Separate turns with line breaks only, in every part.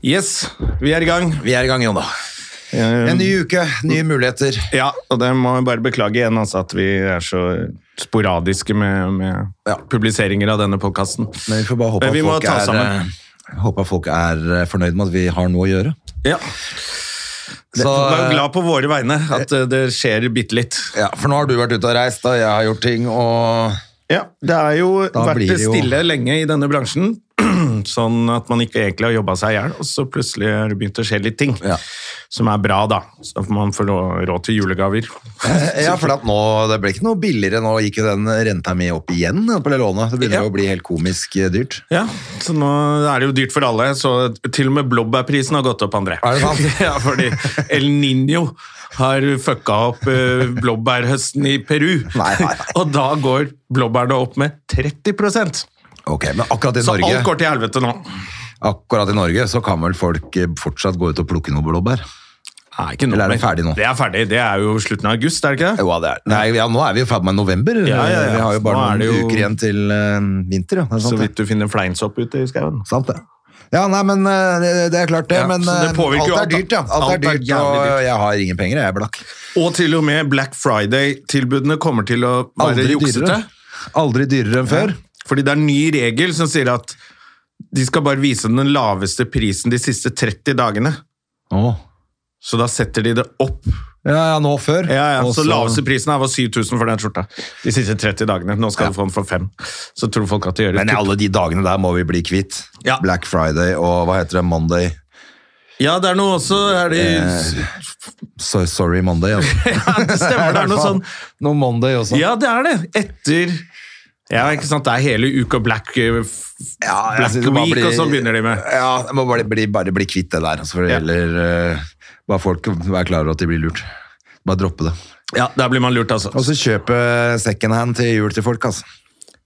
Yes, vi er i gang.
Vi er i gang, Jonna. En ny uke, nye muligheter.
Ja, og det må jeg bare beklage igjen altså, at vi er så sporadiske med, med
Ja.
publiseringer av denne podkasten.
Men vi får bare håpe
Men
at
vi må
folk,
ta
er,
sammen.
eh, håpe at folk er eh, fornøyd med at vi har noe å gjøre.
Ja.
Så,
Vær
eh,
glad på våre vegne at eh, det skjer bitte litt.
ja, for nå har du vært ute og reist, og jeg har gjort ting, og
Ja, det er jo
Da
vært
blir det jo-
stille lenge i denne bransjen, sånn at man ikke egentlig har jobba seg i hjel, og så plutselig har det begynt å skje litt ting
Ja.
som er bra, da. Så at man får rå- råd til julegaver.
Eh, Ja, for at nå, det ble ikke noe billigere. Nå gikk jo den renta mi opp igjen eh, på det lånet. Det begynner
Ja.
jo å bli helt komisk eh, dyrt.
Ja, så nå er det jo dyrt for alle, så til og med blåbærprisen har gått opp, André.
Er det sant?
ja, fordi El Niño har fucka opp eh, blåbærhøsten i Peru,
Nei, nei, nei.
og da går blåbærene opp med 30
Ok, Men akkurat i,
Så alt
Norge,
går til helvete nå.
akkurat i Norge så kan vel folk eh, fortsatt gå ut og plukke noen blåbær?
Nei, ikke nå,
Eller er det
men-
ferdig nå?
Det er ferdig. Det er jo slutten av august, er det ikke det?
Jo, ja, det er. Nei, ja, nå er vi jo ferdig med november.
Ja, ja, ja.
Vi har jo
Nå
bare
er
noen
det jo-
uker igjen til eh, vinter. Ja. Det er sant,
Så
det.
vidt du finner fleinsopp ute i skauen.
Sant det. Ja, nei, men eh, det, det er klart det,
Ja,
men
så det
eh, alt
påvirker jo
er
alt, da.
dyrt, ja. Alt,
Alt er
er dyrt, og
jævlig dyrt.
jeg har ingen penger, jeg er blakk.
Og til og med Black Friday-tilbudene kommer til å være
Aldri dyrere.
juksete.
Aldri dyrere enn før.
Fordi det er en ny regel som sier at de skal bare vise den laveste prisen de siste 30 dagene.
Åh.
Så da setter de det opp.
Ja, ja, nå før.
Ja, ja.
Og
Så laveste prisen her var 7000 for den skjorta de siste 30 dagene. Nå skal du få den for fem. Så tror folk at de gjør det.
Men
kutt.
alle de dagene der må vi bli kvitt.
Ja.
Black Friday og hva heter det, Monday.
Ja, det er noe også er det,
So, sorry, Monday. Altså.
ja, det stemmer. Det er noe sånn
Noe Monday også.
Ja, det er det. Etter Ja, ikke sant. Det er hele uka Black, eh, f-
Ja, jeg
Black
synes det bare
Week,
blir-
og så begynner de med
Ja, jeg må bare bli, bare bli kvitt det der. Altså, for det
Ja.
gjelder eh, bare folk være klar over at de blir lurt. Bare droppe det.
Ja, der blir man lurt, altså.
Og så kjøpe second hand til jul til folk, altså.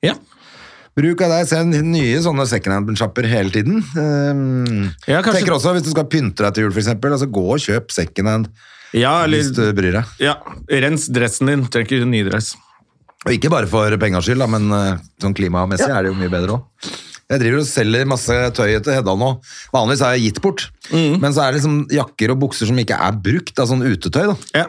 Ja.
Bruk av deg selv nye sånne secondhand-sjapper hele tiden. Um,
Ja, kanskje-
Tenker også hvis du skal pynte deg til jul, for eksempel, altså gå og kjøp secondhand
ja,
hvis du
eller
bryr deg.
ja, Rens dressen din. Trenger ikke ny dress.
Og ikke bare for pengas skyld, da, men eh, sånn klimamessig er det jo mye bedre òg. Jeg driver og selger masse tøy til Hedda nå. Vanligvis har jeg gitt bort,
Mm.
men så er det liksom jakker og bukser som ikke er brukt, av sånn utetøy. da.
Ja.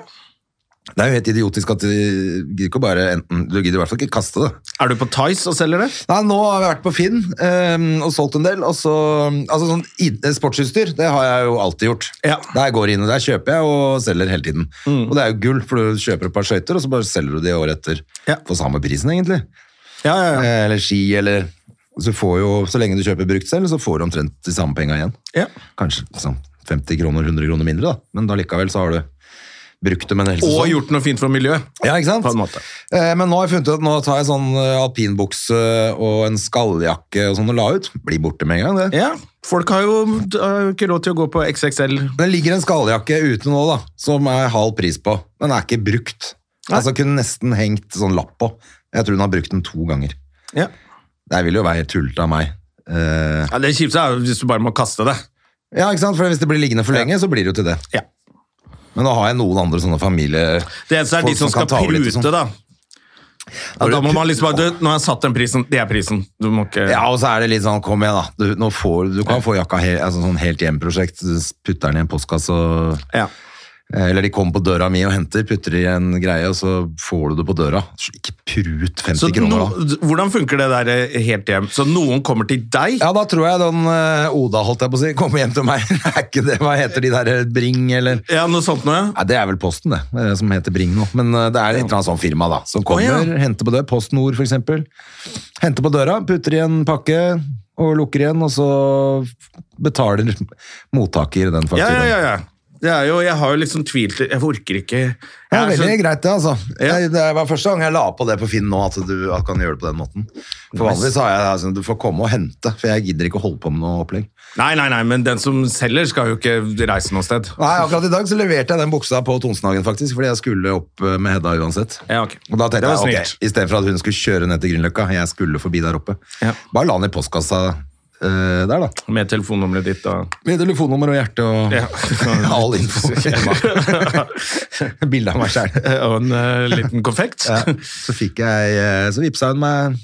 Det er jo helt idiotisk at du gidder ikke å bare enten Du gidder i hvert fall ikke kaste det.
Er du på Tice og selger det?
Nei, nå har vi vært på Finn ehm, og solgt en del. Og så, altså sånn id- Sportsutstyr det har jeg jo alltid gjort.
Ja. Mm.
Der går jeg inn, og der kjøper jeg og selger hele tiden. Og det er jo gull, for du kjøper et par skøyter, og så bare selger du de året etter
Ja.
for samme prisen, egentlig.
Ja, ja, ja.
Eh, Eller ski, eller så, får jo, så lenge du kjøper brukt selv, så får du omtrent de samme penga igjen.
Ja.
Kanskje sånn 50 kroner, 100 kroner mindre, da. Men allikevel så har du brukt dem en hel
Eh, Og
sesong.
gjort noe fint for miljøet.
Ja, ikke sant?
På en måte.
Eh, men nå har jeg funnet ut at nå tar jeg sånn eh, alpinbukse og en skalljakke og sånn og la ut. Blir borte med en gang, det.
Ja, Folk har jo har jo ikke råd til å gå på XXL.
Men det ligger en skalljakke ute nå, da, som er halv pris på. Den er ikke brukt. Altså, kunne nesten hengt sånn lapp på. Jeg tror hun har brukt den to ganger.
Ja,
Det ville jo være helt tullete av meg. Eh,
Det kjipeste er jo hvis du bare må kaste det.
ja, ikke sant? For hvis det blir liggende for lenge, så blir det jo til det.
Ja.
Men nå har jeg noen andre sånne familie...
Det eneste er
Folk
de som
som kan
skal
ta over litt
prute,
og sånn.
da. Ja, da må man liksom bare du, Nå har jeg satt den prisen. Det er prisen. Du må ikke
Ja, og så er det litt sånn, kom igjen da. Du, nå får, du kan få jakka he, altså, sånn helt hjem-prosjekt. Du Putter den i en postkasse og eh,
Ja.
Eller de kommer på døra mi og henter, putter i en greie, og så får du det på døra. Så Ikke prut 50
Så
kroner,
no,
da.
hvordan funker det der eh, helt hjem? Så noen kommer til deg?
Ja, da tror jeg den eh, Oda, holdt jeg på å si, kommer hjem til meg. Det er ikke det, hva heter de der eh, Bring, eller
Ja, noe sånt noe?
Nei, det er vel Posten, det, eh, som heter Bring nå. Men eh, det er et eller annet sånt firma, da, som kommer,
Å, ja.
henter på døra. Post Nord, for eksempel. Henter på døra, putter i en pakke og lukker igjen, og så betaler mottaker den
Ja, ja,
fakturaen.
ja. ja. Det er jo, jeg har jo liksom tvilt Jeg orker ikke jeg
Det er
er
veldig
sånn-
greit, det. altså.
Ja.
Jeg, det var første gang jeg la på det på Finn nå, at du at kan gjøre det på den måten. For vanligvis har jeg altså, du får komme og hente, for jeg gidder ikke å holde på med noe opplegg.
Nei, nei, nei, men den som selger, skal jo ikke reise noe sted.
Nei, Akkurat i dag så leverte jeg den buksa på Tonsenhagen, faktisk, fordi jeg skulle opp eh, med Hedda uansett.
Ja, ok.
Og da
Det
tenkte
var
jeg,
snilt.
ok, I stedet for at hun skulle kjøre ned til Grünerløkka, jeg skulle forbi der oppe.
Ja.
Bare la den i postkassa eh, der, da.
Med telefonnummeret ditt og
Med telefonnummer og hjerte og
Ja.
all info. Bilde av meg sjæl.
Og en eh, liten konfekt.
Ja, så fikk jeg eh, Så vippsa hun meg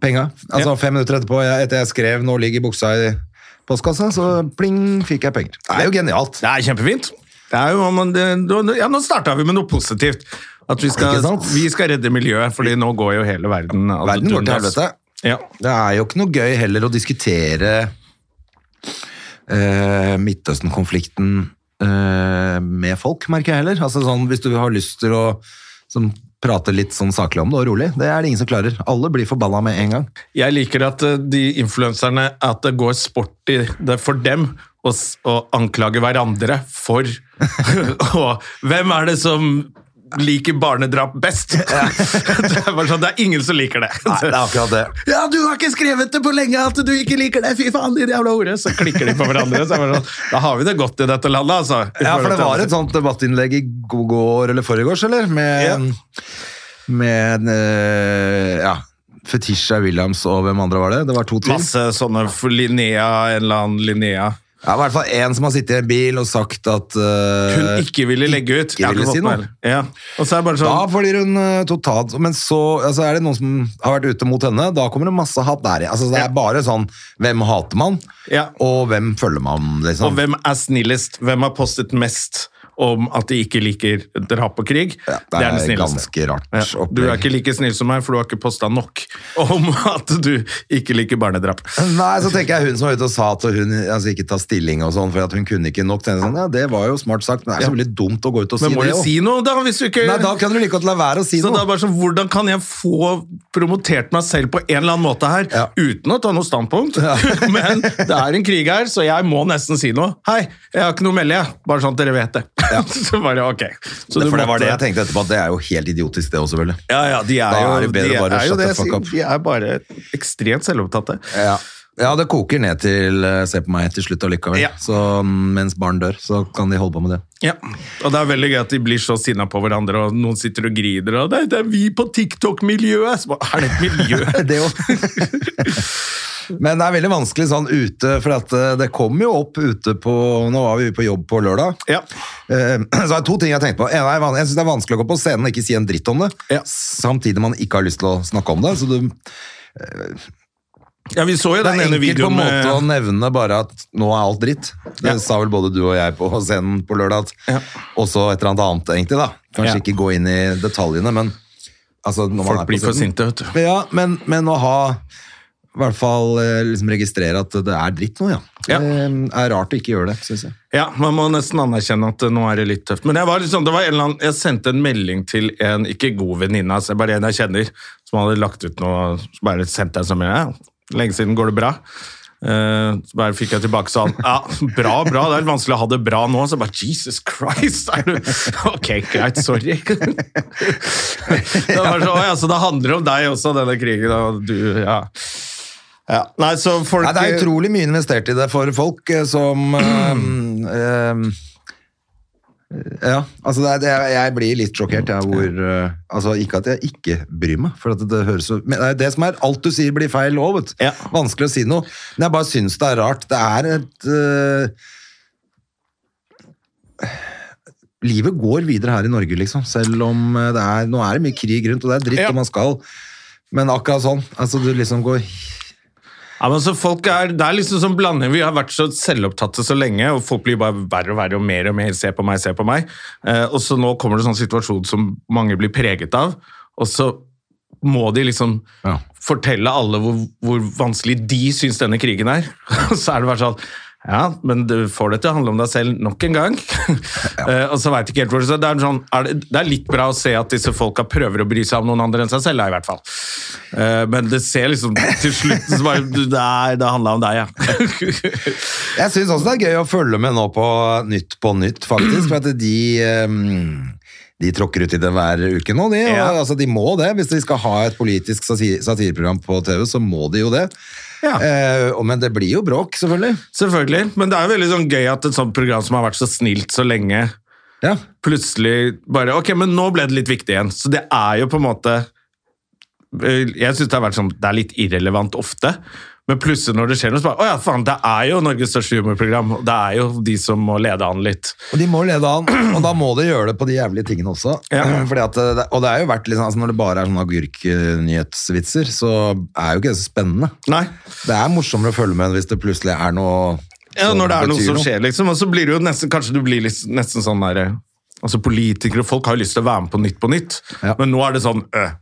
penga. Altså fem minutter etterpå, jeg, etter jeg skrev 'nå ligger buksa i postkassa', så pling, fikk jeg penger. Det er jo genialt.
Det er kjempefint. Det er jo, men det, nå- ja, nå starta vi med noe positivt. At vi skal,
Ikke sant?
vi skal redde miljøet, fordi nå går jo hele verden ad
Verden går til
undas.
helvete.
Ja.
Det er jo ikke noe gøy heller å diskutere eh, Midtøsten-konflikten eh, med folk, merker jeg heller. Altså sånn, Hvis du har lyst til å sånn, prate litt sånn saklig om det og rolig, det er det ingen som klarer. Alle blir forbanna med en gang.
Jeg liker at eh, de influenserne At det går sport i det for dem å, s- å anklage hverandre for Og hvem er det som liker barnedrap best? det, er bare sånn, det er ingen som liker det.
Nei, det er akkurat det.
Ja, du har ikke skrevet det på lenge at du ikke liker det! Fy faen, din jævla hore! Så klikker de på hverandre. Så er det bare sånn, da har vi det godt i dette landet, altså. I
Ja, for det var
forhold til-
et sånt debattinnlegg i går eller foregårs, eller? Med, med eh, ja, Fetisha Williams og hvem andre var det? Det var to til.
Masse sånne for Linnea, en eller annen Linnea.
Ja, I hvert fall én som har sittet i en bil og sagt at eh,
Hun ikke ville legge ut.
ikke
Jeg har
ville
ikke
si
fått med
noe.
meg. Ja. Og så er det bare
Da
sånn
blir hun eh, totalt Men så altså, er det noen som har vært ute mot henne, da kommer det masse hat der. Altså, det
Ja.
er bare sånn Hvem hater man,
Ja.
og hvem følger man,
Og
liksom?
hvem er snillest? Hvem har postet mest om at de ikke liker drap og krig?
Ja, det er ganske rart
Ja. Du er
opplegg.
ikke like snill som meg, for du har ikke posta nok om at du ikke liker barnedrap.
Nei, så tenker jeg hun som var ute og sa at hun altså, ikke tar stilling og sånn, for at hun kunne ikke nok. Tenkte jeg sånn, ja, det var jo smart sagt, men det er så veldig dumt å gå ut og
Men
si
må
det
du
også.
si noe, da? Hvis du ikke
Nei, da kan du like godt la være å si
Så det
noe.
er bare sånn, Hvordan kan jeg få promotert meg selv på en eller annen måte her,
Ja.
uten å ta noe standpunkt? Men det er en krig her, så jeg må nesten si noe. Hei, jeg har ikke noe å melde, jeg. Bare sånn at dere vet det. så bare, ok. Så
for
du
det
måtte-
var det jeg tenkte etterpå, at det er jo helt idiotisk det også, selvfølgelig.
Ja, ja, de er
Da
jo,
er det bedre
de,
bare å
er jo
shut the
det, jeg
fuck
sier.
up.
de er bare ekstremt selvopptatte.
Ja. ja, det koker ned til eh, Se på meg til slutt allikevel.
Ja.
Så mm, mens barn dør, så kan de holde på med det.
Ja, og det er veldig gøy at de blir så sinna på hverandre, og noen sitter og griner, og det, det er vi på TikTok-miljøet! Så bare, Er det et miljø?
det òg. Men det er veldig vanskelig sånn ute, for at eh, det kom jo opp ute på Nå var vi på jobb på lørdag.
Ja.
Eh, Så er det to ting jeg tenkte på. En er, van- jeg syns det er vanskelig å gå på scenen og ikke si en dritt om det,
Ja.
samtidig man ikke har lyst til å snakke om det. Så du, det
ja, vi så jo
er
den ene
enkelt på
videoen
en måte å
med
nevne bare at nå er alt dritt. Det
Ja.
sa vel både du og jeg på scenen på lørdag. At,
Ja.
Også et eller annet annet, egentlig. da. Kanskje
Ja.
ikke gå inn i detaljene, men altså, når man er
Folk
på
blir for
scenen-
sinte, vet du.
Men Ja, men, men å ha i hvert fall eh, liksom registrere at det er dritt nå, ja.
Ja.
Det er rart å ikke gjøre det, synes jeg.
Ja, man må nesten anerkjenne at eh, nå er det litt tøft. Men jeg, var litt sånn, det var en eller annen, jeg sendte en melding til en ikke god venninne, altså bare en jeg kjenner, som hadde lagt ut noe, så bare sendte jeg som jeg, ja, lenge siden går det bra. Eh, så bare fikk jeg tilbake sånn, ja, bra, bra, det er litt vanskelig å ha det bra nå, så jeg bare, Jesus Christ, er du, ok, greit, sorry. det var så, «Å ja, så det handler om deg også, denne krigen, og du, ja. ja. Nei, så folk...
Nei,
eh,
det er utrolig mye investert i det for folk eh, som ehm, ehm, Ja, altså det er, det er, jeg blir litt sjokkert, jeg, hvor eh, Altså ikke at jeg ikke bryr meg, for at det høres så Men det er det som er Alt du sier, blir feil òg, vet du.
Ja.
Vanskelig å si noe. Men jeg bare syns det er rart. Det er et eh, Livet går videre her i Norge, liksom. Selv om eh, det er Nå er det mye krig rundt, og det er dritt,
Ja.
og man skal Men akkurat sånn. Altså, du liksom går
Ja, men så folk er, Det er liksom sånn blanding. Vi har vært så selvopptatte så lenge, og folk blir bare verre og verre og mer og mer 'se på meg, se på meg'. Eh, og så nå kommer det sånn situasjon som mange blir preget av, og så må de liksom
Ja.
fortelle alle hvor, hvor vanskelig de syns denne krigen er. Og så er det bare sånn Ja, men du får det til å handle om deg selv nok en gang. Eh, og så vet jeg ikke helt hvor det så Det er, sånn, er det, det er litt bra å se at disse folka prøver å bry seg om noen andre enn seg selv, da, i hvert fall. Eh, men det ser liksom til slutt så bare, du, Nei, det handla om deg, ja.
Jeg syns også det er gøy å følge med nå på Nytt på Nytt, faktisk. For at de ehm, de tråkker ut i det hver uke nå. De,
Ja.
og, altså, de må det. Hvis de skal ha et politisk satir satireprogram på TV, så må de jo det.
Ja.
Eh, og- men det blir jo bråk, selvfølgelig.
Selvfølgelig. Men det er jo veldig sånn gøy at et sånt program som har vært så snilt så lenge,
Ja.
plutselig bare Ok, men nå ble det litt viktig igjen. Så det er jo på en måte Jeg syns det har vært sånn Det er litt irrelevant ofte. Men plutselig når det skjer noe, så bare Å ja, faen, det er jo Norges største humorprogram. og Det er jo de som må lede an litt.
Og de må lede an, og da må de gjøre det på de jævlige tingene også.
Ja.
Fordi at, det- og det er jo vært litt sånn, altså når det bare er sånne agurknyhetsvitser, så er jo ikke det så spennende.
Nei.
Det er morsommere å følge med hvis det plutselig er noe
Ja,
som
når det er noe
betyr
som skjer, liksom. Og så blir det jo nesten Kanskje du blir litt, nesten sånn derre Altså, politikere og folk har jo lyst til å være med på Nytt på Nytt,
Ja.
men nå er det sånn øh,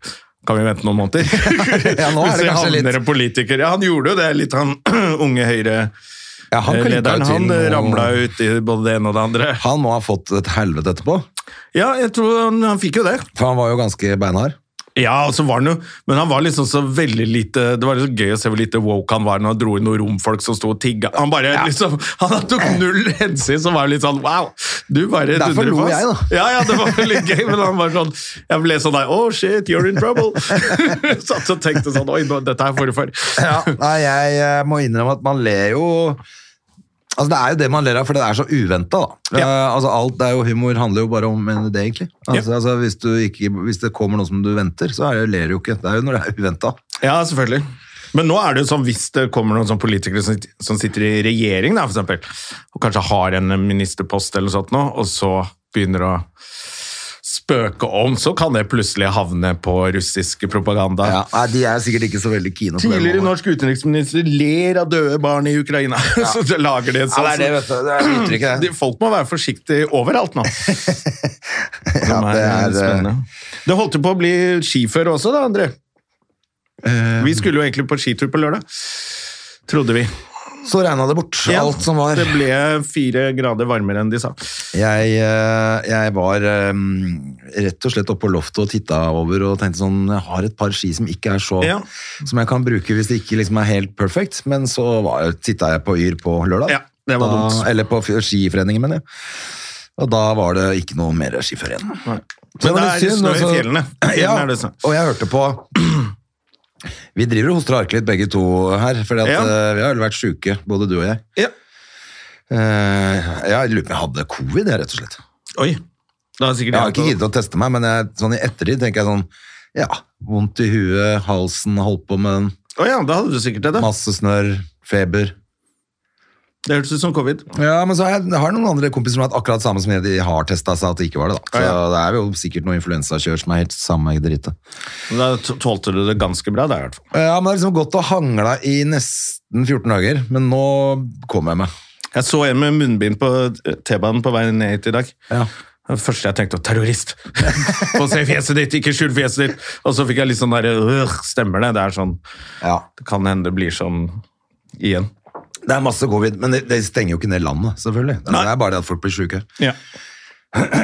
kan vi vente noen måneder?
Ja, nå er det
Plutselig
kanskje litt-
havner en politiker. Ja, han gjorde jo det, litt han unge høyre
Ja, han klinket
Eh, lederen,
jo til
han
noe-
ramla ut i både det ene og det andre.
Han må ha fått et helvete etterpå,
Ja, jeg tror han, han fikk jo det.
for han var jo ganske beinhard.
Ja, og så var han jo, Men han var liksom så veldig lite Det var liksom gøy å se hvor lite woke han var når han dro inn noen romfolk som sto og tigga. Han bare liksom, han tok null hensyn, så var det litt sånn wow! Du bare
Derfor
dundrer
lo
fast.
jeg, da.
Ja, ja, det var veldig gøy, men han var sånn Jeg ble sånn der Oh shit, you're in trouble! Satt og tenkte sånn Oi, nå, dette er forfør.
Nei, jeg eh, må innrømme at man ler jo Altså, Det er jo det man ler av, for det er så uventa. da. Eh, altså, alt, det er jo Humor handler jo bare om en idé, egentlig. Altså, altså, hvis, du ikke, hvis det kommer noe som du venter, så er det, ler du jo ikke. Det er jo når det er uventa.
Ja, selvfølgelig. Men nå er det jo sånn, hvis det kommer noen sånn politikere som, som sitter i regjering, da, for eksempel, og kanskje har en ministerpost eller sånt nå, og så begynner å spøke om, så kan det plutselig havne på russisk propaganda.
Ja, nei, de er sikkert ikke så veldig kine på det.
Tidligere
nå.
norsk utenriksminister ler av døde barn i Ukraina. så lager de
Ja,
en sånn.
det er det, vet du. Det er uttrykket.
De- Folk må være forsiktige overalt nå.
Ja, det er, eh,
spennende. Det holdt jo på å bli skifører også, da, André.
Eh,
Vi skulle jo egentlig på skitur på lørdag. Trodde vi.
Så regna det bort, alt som var.
Det ble fire grader varmere enn de sa.
Jeg, eh, jeg var eh, rett og slett oppe på loftet og titta over og tenkte sånn Jeg har et par ski som ikke er så
Ja.
Som jeg kan bruke hvis det ikke liksom er helt perfect. Men så var- titta jeg på Yr på lørdag.
Ja, det var
da,
dumt.
Eller på f- Skiforeningen, mener jeg. Og da var det ikke noe mer skifører igjen. Så
Men det
var litt
er
synd,
snø i
altså.
fjellene. fjellene
Ja,
er det sånn.
og jeg hørte på Vi driver og hoster og harker litt begge to her, for
Ja.
vi har jo vært sjuke, både du og jeg.
Ja.
Eh, jeg lurer på om jeg hadde covid, jeg, rett og slett.
Oi. Da har sikkert
Jeg har ikke giddet å teste meg, men jeg, sånn i ettertid tenker jeg sånn Ja, vondt i huet, halsen, holdt på med den,
Å ja, da hadde du sikkert det. da.
masse snørr, feber.
Det hørtes ut som covid.
Ja, men så har jeg, jeg har noen andre kompiser som har hatt akkurat samme som jeg, de har testa seg at det ikke var det, da. Så
Ja, ja.
det er jo sikkert noe influensakjør som er helt samme drittet.
Men Da t- tålte du det ganske bra, da, i hvert fall.
Ja, men det er liksom gått og hangla i nesten 14 dager, men nå kom jeg meg.
Jeg så en med munnbind på T-banen på vei ned hit i dag.
Ja.
Det var Det første jeg tenkte var terrorist. Få se fjeset ditt, ikke skjul fjeset ditt. Og så fikk jeg litt sånn der, øh, stemmer det? Det er sånn,
ja.
det kan hende det blir sånn igjen.
Det er masse covid, men det, det stenger jo ikke ned landet, selvfølgelig. Det er bare det at folk blir sjuke.
Ja.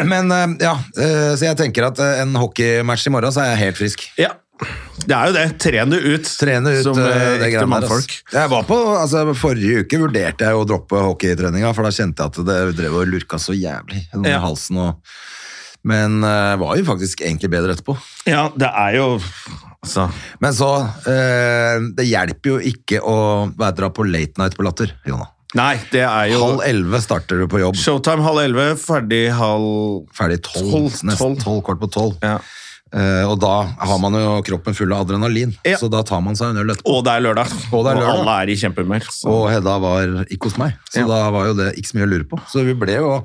Men eh, ja, eh, så jeg tenker at eh, en hockeymatch i morgen, så er jeg helt frisk.
Det er jo det. Tren det ut.
Trene ut
Som
eh,
eh,
det
ekte
greiene der.
mannfolk.
ass. Jeg var på, altså Forrige uke vurderte jeg jo å droppe hockeytreninga, for da kjente jeg at det drev og lurka så jævlig gjennom
Ja.
halsen. og... Men eh, var jo faktisk egentlig bedre etterpå.
Ja, det er jo altså,
Men så eh, Det hjelper jo ikke å være dra på late night på Latter, Jonna.
Nei, det er jo
Halv elleve starter du på jobb.
Showtime halv elleve, ferdig halv
Ferdig
Tolv,
tolv.
tolv.
Nesten tolv, kvart på tolv.
ja.
Eh, og da har man jo kroppen full av adrenalin,
Ja.
så da tar man seg en øl etterpå.
Og det er lørdag.
Og det er lørdag.
alle er i kjempehumør. så-
Og Hedda var ikke hos meg, så
Ja.
da var jo det ikke så mye å lure på. Så vi ble jo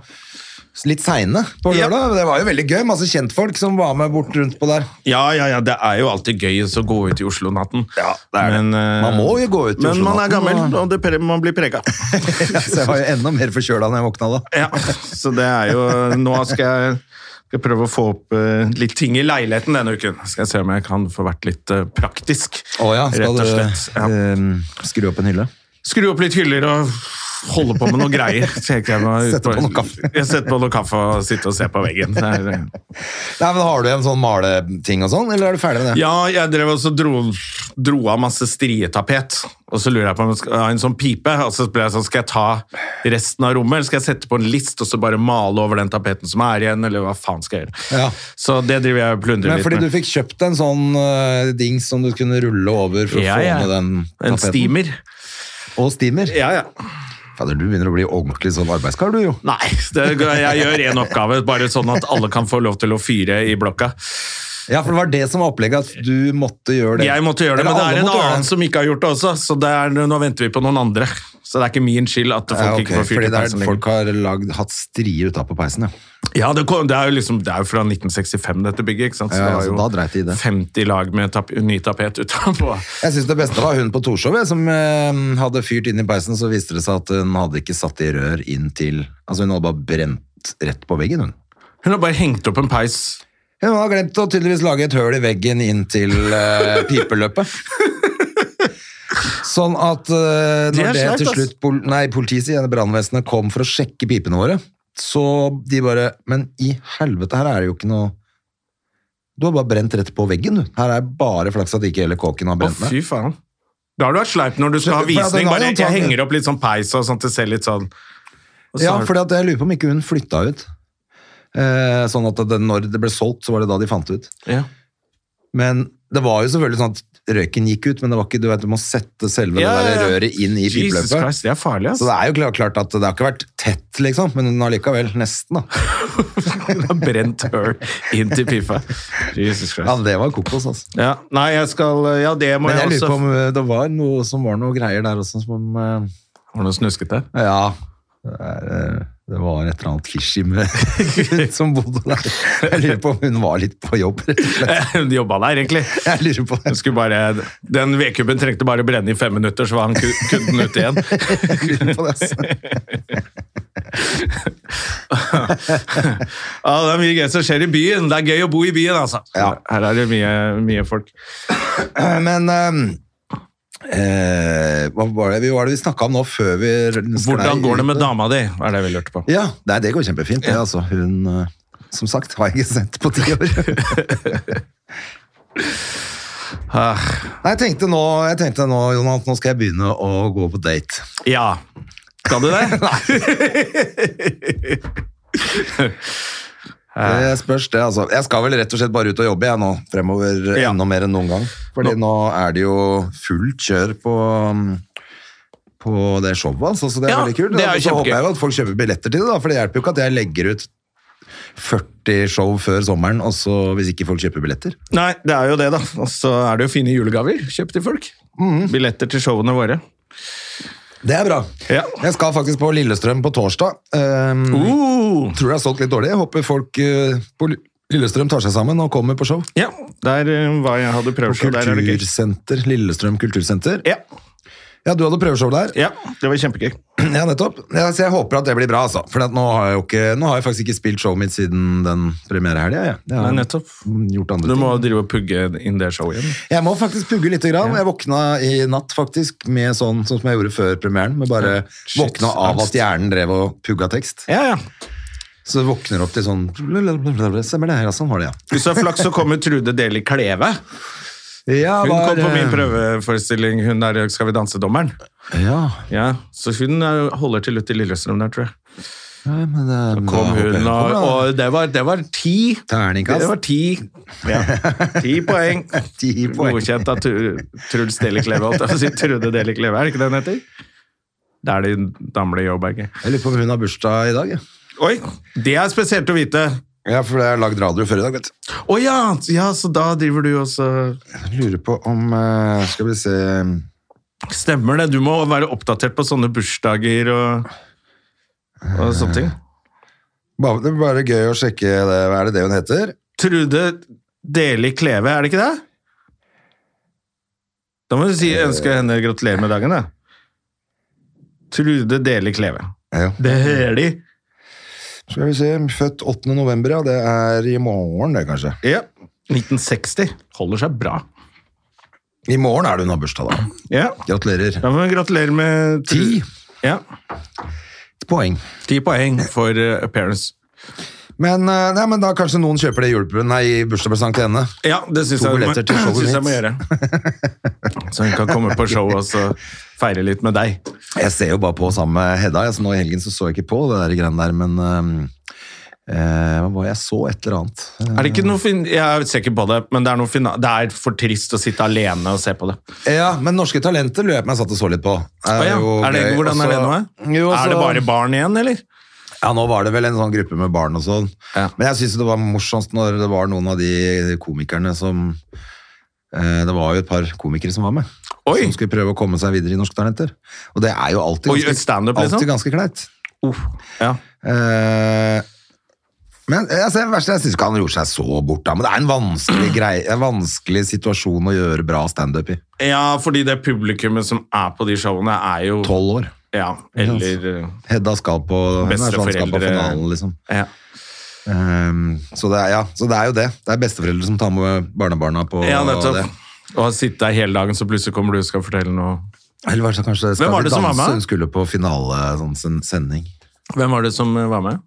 litt seine på
Ja.
lørdag. Det var jo veldig gøy. Masse kjentfolk som var med bort rundt på der.
Ja, ja, ja, det er jo alltid gøy å gå ut i Oslo-natten.
Ja, det er det.
Men, eh,
Man må jo gå ut i
Men man
Oslo-natten,
er gammel,
og-
og det, pre- man blir prega.
Så jeg var jo enda mer forkjøla når jeg våkna da.
Ja, så det er jo Nå skal jeg, skal jeg prøve å få opp eh, litt ting i leiligheten denne uken. Skal jeg se om jeg kan få vært litt eh, praktisk.
Å ja, skal
rett og
du
slett. Ja.
eh, skru opp en hylle?
Skru opp litt hyller og holder på med noen greier. Så jeg, jeg, må, ut
Setter på noe kaffe.
jeg setter på noe kaffe og sitter og ser på veggen. Det er, eh,
Nei, men Har du en sånn maleting og sånn, eller er du ferdig med det?
Ja, jeg drev også dro, dro av masse strietapet. Og så lurer jeg på om jeg skal ha en sånn pipe. Og så ble jeg sånn, skal jeg ta resten av rommet, eller skal jeg sette på en list og så bare male over den tapeten som er igjen, eller hva faen skal jeg gjøre?
Ja.
Så det driver jeg og plundrer
Men
litt
fordi
med.
du fikk kjøpt en sånn eh, dings som du kunne rulle over for å
Ja,
få
ja.
ned den
En steamer.
Og steamer.
Ja, ja.
Fader, du begynner å bli ordentlig sånn arbeidskar, du jo.
Nei, det, jeg gjør én oppgave, bare sånn at alle kan få lov til å fyre i blokka.
Ja, for det var det som var opplegget, at du måtte gjøre det.
Jeg måtte gjøre det,
Eller
men det
alle
er en
måtte gjøre
annen
det.
som ikke har gjort det også, så det er, nå venter vi på noen andre. Så det er ikke min skyld at folk
Ja, ok,
ikke får fyrt
fordi
i
det
peisen
er,
lenger.
folk har lagd, hatt strier utapå peisen, ja.
Ja, det, kom, det, er jo liksom, det er jo fra 1965 dette bygget, ikke sant?
Ja, ja,
det
så
var jo
da dreit de i det.
50 lag med tap ny tapet utenpå.
Jeg syns det beste var hun på Torshov jeg, som eh, hadde fyrt inn i peisen, så viste det seg at hun hadde ikke satt i rør inn til Altså, hun hadde bare brent rett på veggen, hun.
Hun har bare hengt opp en peis.
Hun har glemt å tydeligvis lage et høl i veggen inn til eh, pipeløpet. Sånn at eh,
Det er
når det,
sleipt,
til
ass.
slutt pol Nei, politiet sier brannvesenet kom for å sjekke pipene våre, så de bare Men i helvete, her er det jo ikke noe Du har bare brent rett på veggen, du. Her er bare flaks at ikke hele kåken har
Å,
brent ned.
fy faen. Da har du vært sleip når du skal ha
For at den
visning.
har jo
Bare, jeg
antagelig-
henger opp litt sånn peis og sånn at det ser litt sånn og så
Ja,
har-
for jeg lurer på om ikke hun flytta ut. Eh, sånn at det, når det ble solgt, så var det da de fant det ut.
ja.
Men det var jo selvfølgelig sånn at røyken gikk ut, men det var ikke, du vet, du må sette selve
Ja,
det
ja,
der
ja.
røret inn i
Jesus
pipeløpet.
Christ, det er farlig, ass.
Så det er jo klart, klart at det har ikke vært tett, liksom, men den har likevel nesten, da.
Hun har brent høl inn til pipa. Jesus
Ja,
Christ.
det var kokos, altså.
Ja, nei, jeg skal Ja, det må
Men jeg
jeg
lurer på
også
om eh, det var noe som var noe greier der også, som eh,
Har du snusket det?
Ja, det, er, eh, det var et eller annet fishy med hun som bodde der. Jeg lurer på om hun var litt på jobb, rett og slett.
Hun jobba der, egentlig.
Jeg lurer på
Den, skulle bare, den vedkubben trengte bare å brenne i fem minutter, så var han ku- kunden ute igjen.
Jeg lurer på det, altså.
Ja, det er mye gøy som skjer i byen. Det er gøy å bo i byen, altså.
Ja.
Her er det mye, mye folk.
Men eh, eh, hva var det vi, hva var det vi snakka om nå før vi
Hvordan går det med dama di? er det vi lurte på.
Ja, nei, det går kjempefint. Det, altså, hun eh, Som sagt, har jeg ikke sett på ti år.
Ah,
Nei, jeg tenkte nå, jeg tenkte nå Jonas, nå skal jeg begynne å gå på date.
Ja. Skal du det? Eh.
Det spørs, det, altså. Jeg skal vel rett og slett bare ut og jobbe jeg nå, fremover eh,
Ja.
enda mer enn noen gang. Fordi nå er det jo fullt kjør på mm, på det showet, altså, så det er
Ja,
veldig kult.
det er jo
så
kjempegøy.
håper jeg jo at folk kjøper billetter til det, da, for det hjelper jo ikke at jeg legger ut 40 show før sommeren, og så hvis ikke folk kjøper billetter.
Nei, det er jo det, da. Og så er det jo fine julegaver kjøpt til folk.
Mhm.
Billetter til showene våre.
Det er bra.
Ja.
Jeg skal faktisk på Lillestrøm på torsdag. Um,
Uh.
Tror det er solgt litt dårlig. Jeg håper folk eh, på Lill- Lillestrøm tar seg sammen og kommer på show.
Ja, der eh, var jeg hadde
På
prøveshow. Der er det gøy.
Kultursenter, Lillestrøm kultursenter.
Ja,
Ja, du hadde prøveshow der.
ja, det var kjempegøy.
Ja, nettopp. Ja, så jeg håper at det blir bra, altså. For at nå, har jeg jo ikke, nå har jeg faktisk ikke spilt showet mitt siden den premierehelga. Jeg. Jeg har
Nei, nettopp.
gjort
Du
andre
må
ting.
drive og pugge inn det showet igjen.
Jeg må faktisk pugge lite grann. Jeg våkna i natt faktisk med sånn, sånn som jeg gjorde før premieren. Med bare
Shit,
våkna av
angst.
at hjernen drev og pugga tekst.
Ja, ja.
Så du våkner opp til sånn Stemmer det her, ja. Sånn var det, ja.
Hvis du har flaks, så kommer Trude Deli Kleve.
ja
Hun
var,
kom på min
eh,
prøveforestilling, hun der Skal vi danse-dommeren.
Ja,
Ja, så hun er- holder til ute i Lillestrøm der, tror jeg.
nei, men det,
Kom
da håper jeg
hun,
kommer,
og,
da.
og det, var, det var ti.
Terningkast.
Det var ti. Ja. Ti poeng.
Ti poeng.
Godkjent av Tru- Truls Deli Kleve. holdt jeg på å si. Trude Deli Kleve, er det ikke det hun heter? Det er de damle jobberget.
Jeg lurer på om hun har bursdag i dag, jeg.
Oi, det er spesielt å vite.
Ja, for jeg har lagd radio før i dag, vet du.
Å ja, ja, så da driver du også
Jeg lurer på om eh, Skal vi se
Stemmer det. Du må være oppdatert på sånne bursdager og, og sånne ting.
bare, Det blir bare gøy å sjekke det. Hva er det det hun heter?
Trude Deli Kleve, er det ikke det? Da må du si ønske henne gratulerer med dagen, da. Trude Deli Kleve.
Ja.
Deli.
Skal vi se Født 8. november, ja. Det er i morgen, det, kanskje.
Ja. 1960. Holder seg bra.
I morgen er det hun har bursdag, da.
Ja.
Gratulerer.
Da må vi gratulere med Tru-
Ti.
Ja.
Et poeng.
Ti poeng for eh, appearance.
Men, eh, nei, men da kanskje noen kjøper det i juleprøven- nei, i bursdagspresang til henne.
Ja, det syns
To
jeg,
billetter til showet
synes jeg må
mitt.
gjøre. Så hun kan komme på show og så feire litt med deg.
Jeg ser jo bare på sammen med Hedda. Altså, nå i helgen så, så jeg ikke på det der greiene der, men eh, eh, hva var jeg så? Et eller annet. Eh,
Er det ikke noe fin jeg er sikker på det, men det er, noe fina det er for trist å sitte alene og se på det.
Ja, men Norske Talenter løp meg satt og så litt på.
Å ja.
jo
er det,
gøy.
hvordan er det nå? eh?
Også- Jo, altså-
er det
også-
bare barn igjen, eller?
Ja, nå var det vel en sånn gruppe med barn og sånn.
Ja.
Men jeg synes det var morsomt når det var noen av de komikerne som eh, Det var jo et par komikere som var med.
Oi!
Som skulle prøve å komme seg videre i Norske Talenter. Og det er jo alltid
Oi,
ganske,
stand-up, liksom?
alltid ganske kleint.
Oh, ja.
Eh, men altså, det verste, jeg syns ikke han gjorde seg så bort, da. Men det er en vanskelig, grei, en vanskelig situasjon å gjøre bra standup i.
ja, fordi det publikummet som er på de showene, er jo
Tolv altså. år.
Ja, eller eh,
Hedda skal på, hun er sånn, skal på
Besteforeldre.
finalen, liksom.
ja.
Ehm, så, det er, ja, så det er jo det. Det er besteforeldre som tar med barnebarna på
ja, nettopp.
det.
Og har sittet der hele dagen, så plutselig kommer du og skal fortelle noe.
Eller var det så kanskje Skal
Hvem var
vi
det som var
danse?
med?
Hun skulle på finale sånn sen- sending.
Hvem var det som eh, var med?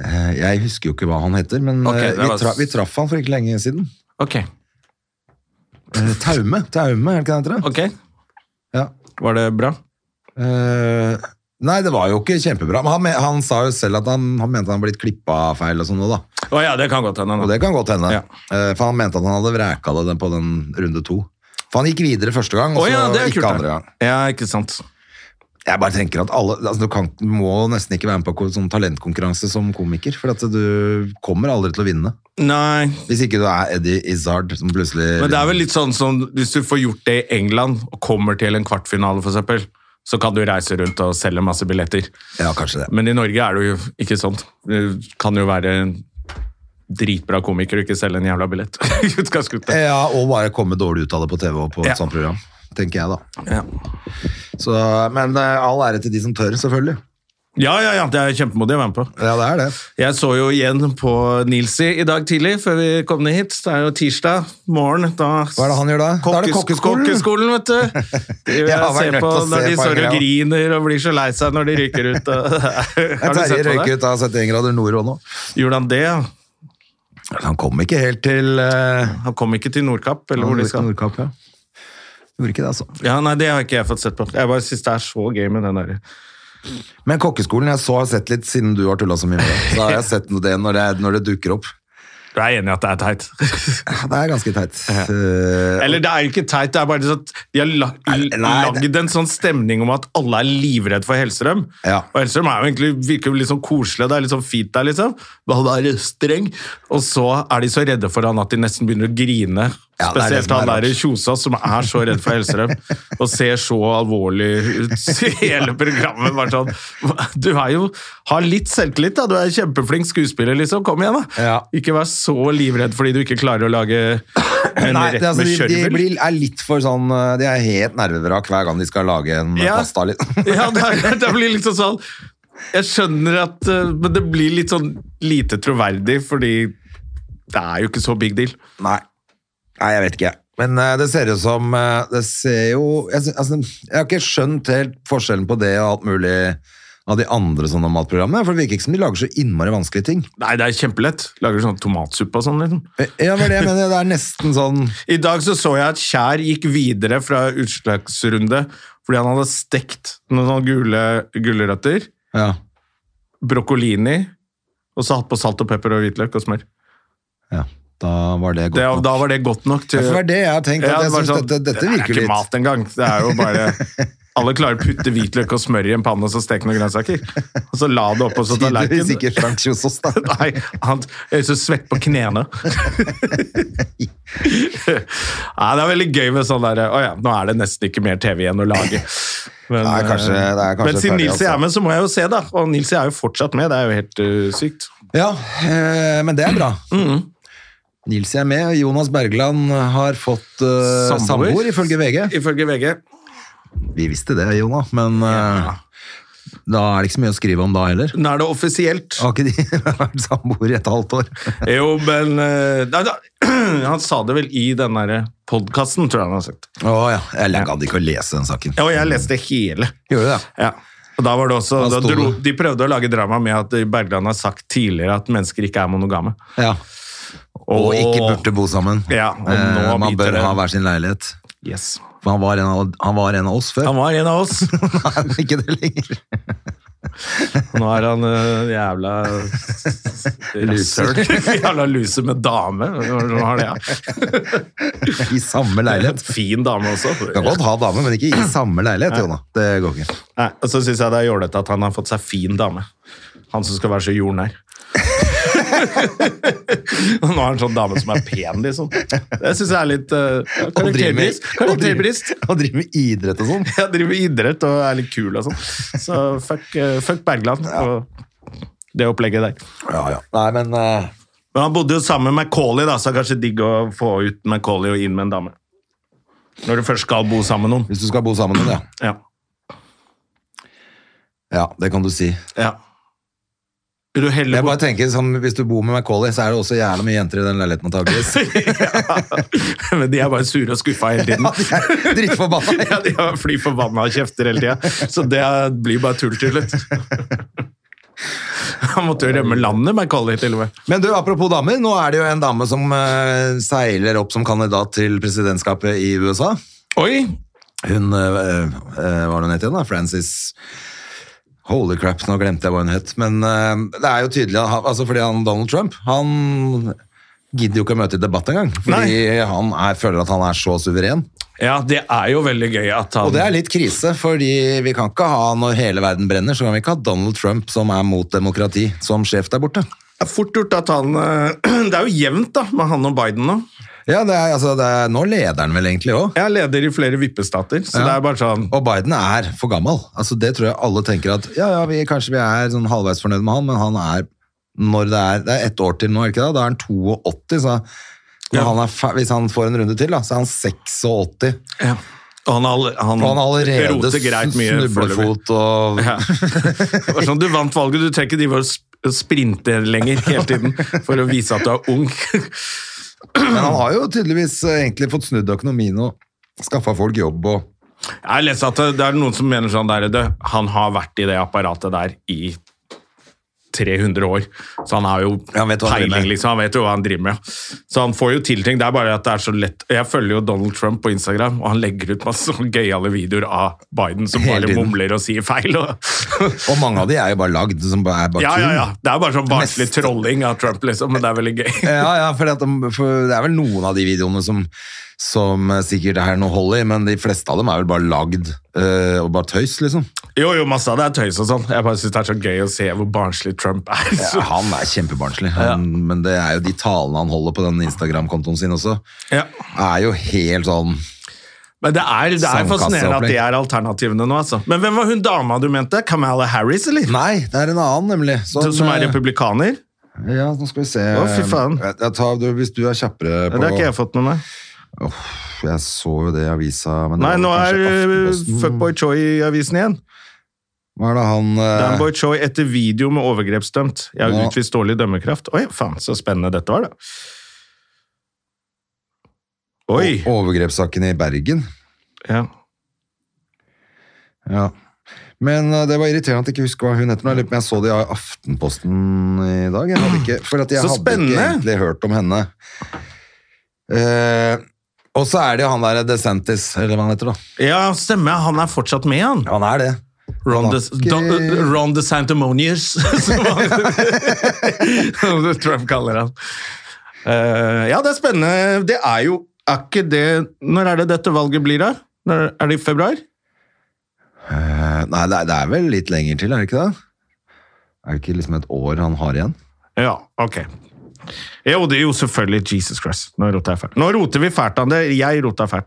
Eh, jeg husker jo ikke hva han heter, men
Ok,
eh,
det
vi,
var-
tra vi traff han for ikke lenge siden.
Ok.
Eh, Taume, Taume, er det ikke det han heter?
ok.
Ja.
Var det bra?
Eh, nei, det var jo ikke kjempebra. Men han, me- han sa jo selv at han, han mente han hadde blitt klippa feil og sånn nå, da.
Å ja, det kan godt hende.
Og
nå.
det kan godt hende.
Ja.
Eh, for han mente at han hadde vreka det den- på den runde to. For han gikk videre første gang, og
Å
så
ja, det er
ikke
kult.
andre
da.
gang.
Ja, ikke sant.
Jeg bare tenker at alle, altså du, kan, du må nesten ikke være med på ko- sånn talentkonkurranse som komiker, for at du kommer aldri til å vinne.
Nei,
Hvis ikke du er Eddie Izzard, som plutselig...
men det er vel litt sånn som hvis du får gjort det i England og kommer til en kvartfinale, for eksempel, så kan du reise rundt og selge masse billetter.
Ja, kanskje det.
Men i Norge er det jo ikke sånt. Du kan jo være en dritbra komiker og ikke selge en jævla billett. i utgangspunktet.
Ja, og bare komme dårlig ut av det på TV og på et
Ja.
sånt program, tenker jeg da.
Ja.
Så, men eh, all ære til de som tør, selvfølgelig.
ja, ja, ja. Det er kjempemodig å være med på.
Ja, det er det.
Jeg så jo igjen på Nilsi i dag tidlig, før vi kom ned hit. Det er jo tirsdag morgen. Da
Hva er det han gjør da? Da er det
Kokkes-
kokkeskolen.
kokkeskolen, vet du. Det
Jeg har
vil jeg
vært
se
nødt
på
til å
når
se
de
på en
står og
greie.
griner og blir så lei seg når de ryker ut. og- Har du
Terje
sett på
røyker
det?
ut av 71 grader nord og nå.
Gjorde han det? ja?
Han kom ikke helt til... eh,
Han kom ikke til Nordkapp, eller hvor de skal.
Nordkapp, ja. Gjorde ikke det, altså.
Ja, nei, Det har ikke jeg fått sett på. Jeg bare synes det er så gøy med den der.
Men kokkeskolen, jeg så har sett litt siden du har tullet så mye med det. Så har jeg sett det når det, når det dukker opp.
Du er enig i at det er teit?
Ja, Det er ganske teit. Eh,
Eller det er jo ikke teit, det er bare sånn at de har la-
nei,
lagd en sånn stemning om at alle er livredd for Hellstrøm.
Ja.
Og Hellstrøm er jo egentlig, virker jo litt sånn koselig, det er litt sånn fint der, liksom. Men han er streng. Og så er de så redde for han at de nesten begynner å grine.
Ja, det er det
Spesielt
som er
han der i
rart.
Kjosås som er så redd for Hellstrøm, og ser så alvorlig ut i hele programmet. Bare sånn, du er jo, har litt selvtillit, da. Du er kjempeflink skuespiller, liksom. Kom igjen, da.
Ja.
Ikke vær så livredd fordi du ikke klarer å lage en
Nei,
rett
det, er altså,
med
de,
kjørvel.
de blir, er litt for sånn eh, De er helt nervevrak hver gang de skal lage en eh,
Ja.
pasta. Litt.
Ja, det, er, det blir liksom sånn Jeg skjønner at eh, Men det blir litt sånn lite troverdig, fordi det er jo ikke så big deal.
Nei. Nei, jeg vet ikke. Men eh, det ser ut som eh, Det ser jo jeg, sy- altså, jeg har ikke skjønt helt forskjellen på det og alt mulig av de andre sånne matprogrammene. For det virker ikke som de lager så innmari vanskelige ting. Eh,
Nei, det er kjempelett. Lager sånn tomatsuppe og sånn. liksom.
Ja, men det, jeg mener, det er nesten sånn
I dag så, så jeg at Kjær gikk videre fra utslagsrunde fordi han hadde stekt noen sånne gule gulrøtter,
Ja.
brokkolini, og så hatt på salt og pepper og hvitløk og smør.
ja. Da var det godt.
Det,
nok.
da var det godt nok
Ja,
til
for det er det jeg har tenkt.
Ja,
At jeg
bare
synes
sånn,
dette, dette virker
Det er ikke
litt
mat engang. Det er jo bare Alle klarer å putte hvitløk og smør i en panne og så steke noen grønnsaker. Og så la det opp og så
Tydeligvis
tallerken.
ikke Frank Kjosås, da.
Nei, han er så svett på knærne. Nei, det er veldig gøy med sånn derre Å ja, nå er det nesten ikke mer TV igjen å lage. Men, eh,
Nei, kanskje- det er kanskje
men siden
ferdig,
Nilsi
altså.
er med, så må jeg jo se, da. Og Nilsi er jo fortsatt med. Det er jo helt uh, sykt.
Ja, eh, men det er bra. Nils er med. Jonas Bergland har fått eh,
Samboer.
samboer, ifølge VG.
Ifølge VG.
Vi visste det, Jonas, men eh, da er det ikke så mye å skrive om da heller.
Nå er det offisielt.
Har ikke de vært samboer i et halvt år?
Jo, men eh, nei, da, Han sa det vel i den derre podkasten, tror jeg han har sagt.
Å ja. Jeg gadd ikke å lese den saken.
Ja, og jeg leste hele.
Gjorde du det?
Ja. Og da var det også,
Da
da
sto
dro,
det.
de prøvde å lage drama med at Bergland har sagt tidligere at mennesker ikke er monogame.
Ja. Og ikke burde bo sammen.
Ja, og nå
eh, man
biter
bør
det.
ha hver sin leilighet.
Yes.
For han var en av, han var en av oss før.
Han var en av oss.
Nei, han er ikke det lenger.
Nå er han eh, jævla
Loser.
rasshøl. jævla loser med dame. Nå har det, ja.
I samme leilighet.
Fin dame også.
Du kan godt ha dame, men ikke i samme leilighet, Jona. Det går ikke.
Nei, og så syns jeg det er jålete at han har fått seg fin dame. Han som skal være så jordnær. Og Nå har han sånn dame som er pen, liksom. Det syns jeg er litt eh,
Og driver med-
karakterbrist. Karakterbrist.
Og driver med idrett og sånn.
Jeg driver med idrett og er litt kul og sånn. Så fuck, eh, fuck Bergland og det opplegget der.
Ja, ja. Nei, men eh,
Men han bodde jo sammen med Macaulay, da, så det er kanskje digg å få ut Macaulay og inn med en dame. Når du først skal bo sammen med noen.
hvis du skal bo sammen med det, ja.
Ja.
ja. Det kan du si.
ja. Vil du helle
Jeg bare
bort
tenker, som, Hvis du bor med Macauley, så er det også jævla mye jenter i den leiligheten, antakeligvis.
Men de er bare sure og skuffa hele tiden.
Ja, de er drittforbanna.
Ja, de har fly forbanna og kjefter hele tida. Så det blir bare tull til slutt. Han måtte jo rømme landet, Macaulay, til og med.
Men du, apropos damer, nå er det jo en dame som eh, seiler opp som kandidat til presidentskapet i USA.
Oi!
Hun, eh, eh, hva var det hun het igjen da? Francis Holy crap, nå glemte jeg hva hun het. Men eh, det er jo tydelig, at han- altså fordi han Donald Trump, han gidder jo ikke å møte i debatt engang. Fordi han er, føler at han er så suveren.
Ja, det er jo veldig gøy at han
Og det er litt krise, fordi vi kan ikke ha, når hele verden brenner, så kan vi ikke ha Donald Trump som er mot demokrati, som sjef der borte.
Det er fort gjort at han eh, Det er jo jevnt da, med han og Biden nå.
Ja, det er, altså, det er, nå leder han vel egentlig også.
Jeg er leder i flere vippestater, så
Ja.
det er bare sånn
Og Biden er for gammel. Altså, det tror jeg alle tenker at ja, ja, vi, kanskje vi er sånn halvveis fornøyd med han, men han er når det er, det er ett år til nå, er det ikke det? Da er han 82, så når
Ja.
han er, fer- hvis han får en runde til, da, så er han 86.
ja. Og han, all-
Og han er allerede
Mm. roter greit mye foreløpig.
snublefot og
Ja. Det var sånn, du vant valget, du trenger ikke drive og sp- sprinte lenger hele tiden for å vise at du er ung.
Men han har jo tydeligvis eh, egentlig fått snudd økonomien og skaffa folk jobb og
Jeg leser at det er noen som mener sånn der, du, han har vært i det apparatet der i 300 år, så han har jo
Ja, han vet hva han driver
peiling,
med.
liksom. Han vet jo hva han driver med. ja. Så han får jo til ting. Det er bare at det er så lett. Jeg følger jo Donald Trump på Instagram, og han legger ut masse sånn gøyale videoer av Biden som
Hele
bare
tiden.
mumler og sier feil. Og
Og mange av de er jo bare lagd, som bare er bare
ja, ja,
tull.
ja. Det er bare sånn barnslig
Mest-
trolling av Trump, liksom, men det er veldig gøy.
Ja, ja, fordi at de, for det er vel noen av de videoene som, som sikkert er noe hold i, men de fleste av dem er vel bare lagd eh, og bare tøys, liksom.
Jo, jo, masse av det er tøys og sånn. Jeg bare synes det er så gøy å se hvor barnslig Trump er.
Ja, han er kjempebarnslig, han, men det er jo de talene han holder på den Instagram-kontoen sin også,
Ja.
er jo helt sånn
Men det er, det er
Sandkasseopplegg.
fascinerende at det er alternativene nå, altså. Men hvem var hun dama du mente? Kamala Harris, eller?
Nei, altså, det er en annen, nemlig. Som,
Som er republikaner?
Ja, nå skal vi se.
Å, fy faen.
Jeg, jeg tar, du, hvis du er kjappere
Ja,
på
Det har ikke jeg fått med meg.
Uff, jeg så jo det i avisa, men det
Nei,
var
nå er
kanskje
eh,
Aftenposten.
Fuckboy Choi i avisen igjen.
Hva er det han eh,
Danboy Choi etter video med overgrepsdømt. Jeg har
Ja.
utvist dårlig dømmekraft. Oi, faen, så spennende dette var, da. Oi!
o- Overgrepssaken i Bergen.
Ja.
Ja. Men eh, det var irriterende at jeg ikke husker hva hun heter. men Jeg lurer på om jeg så det i Aftenposten i dag. Jeg hadde ikke, for at jeg
Så
hadde ikke
spennende!
egentlig hørt om henne. Eh, og så er det jo han der eh, DeSantis, eller hva han heter, da.
ja, stemmer. Han er fortsatt med, han.
Han er det. Han
Ron de,
har ikke-
Don- uh, Ron de Santamonius, som han- Trump kaller han. Eh, ja, det er spennende. Det er jo er ikke det Når er det dette valget blir, da? Når, er det i februar?
Eh, nei, det er, det er vel litt lenger til, er det ikke det? Er det ikke liksom et år han har igjen?
Ja, ok. Jo, det er jo selvfølgelig Jesus Christ. Nå roter jeg fælt. Nå roter vi fælt, Ander. Jeg rota fælt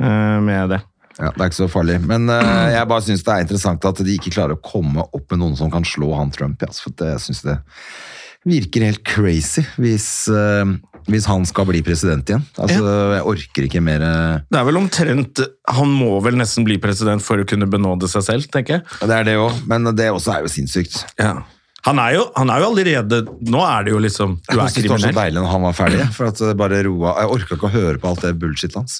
eh, med det.
Ja, Det er ikke så farlig. Men eh, jeg bare syns det er interessant at de ikke klarer å komme opp med noen som kan slå han Trump. Ja, altså, for det, jeg syns det virker helt crazy hvis, eh, hvis han skal bli president igjen. Altså, Jeg orker ikke mer eh,
Det er vel omtrent Han må vel nesten bli president for å kunne benåde seg selv, tenker jeg.
Det er det òg, men det også er jo sinnssykt.
Han er, jo, han er jo allerede Nå er det jo liksom Du er
Jeg synes det var så
kriminell.
deilig når han var ferdig. for at det bare roa. Jeg orka ikke å høre på alt det bullshit hans.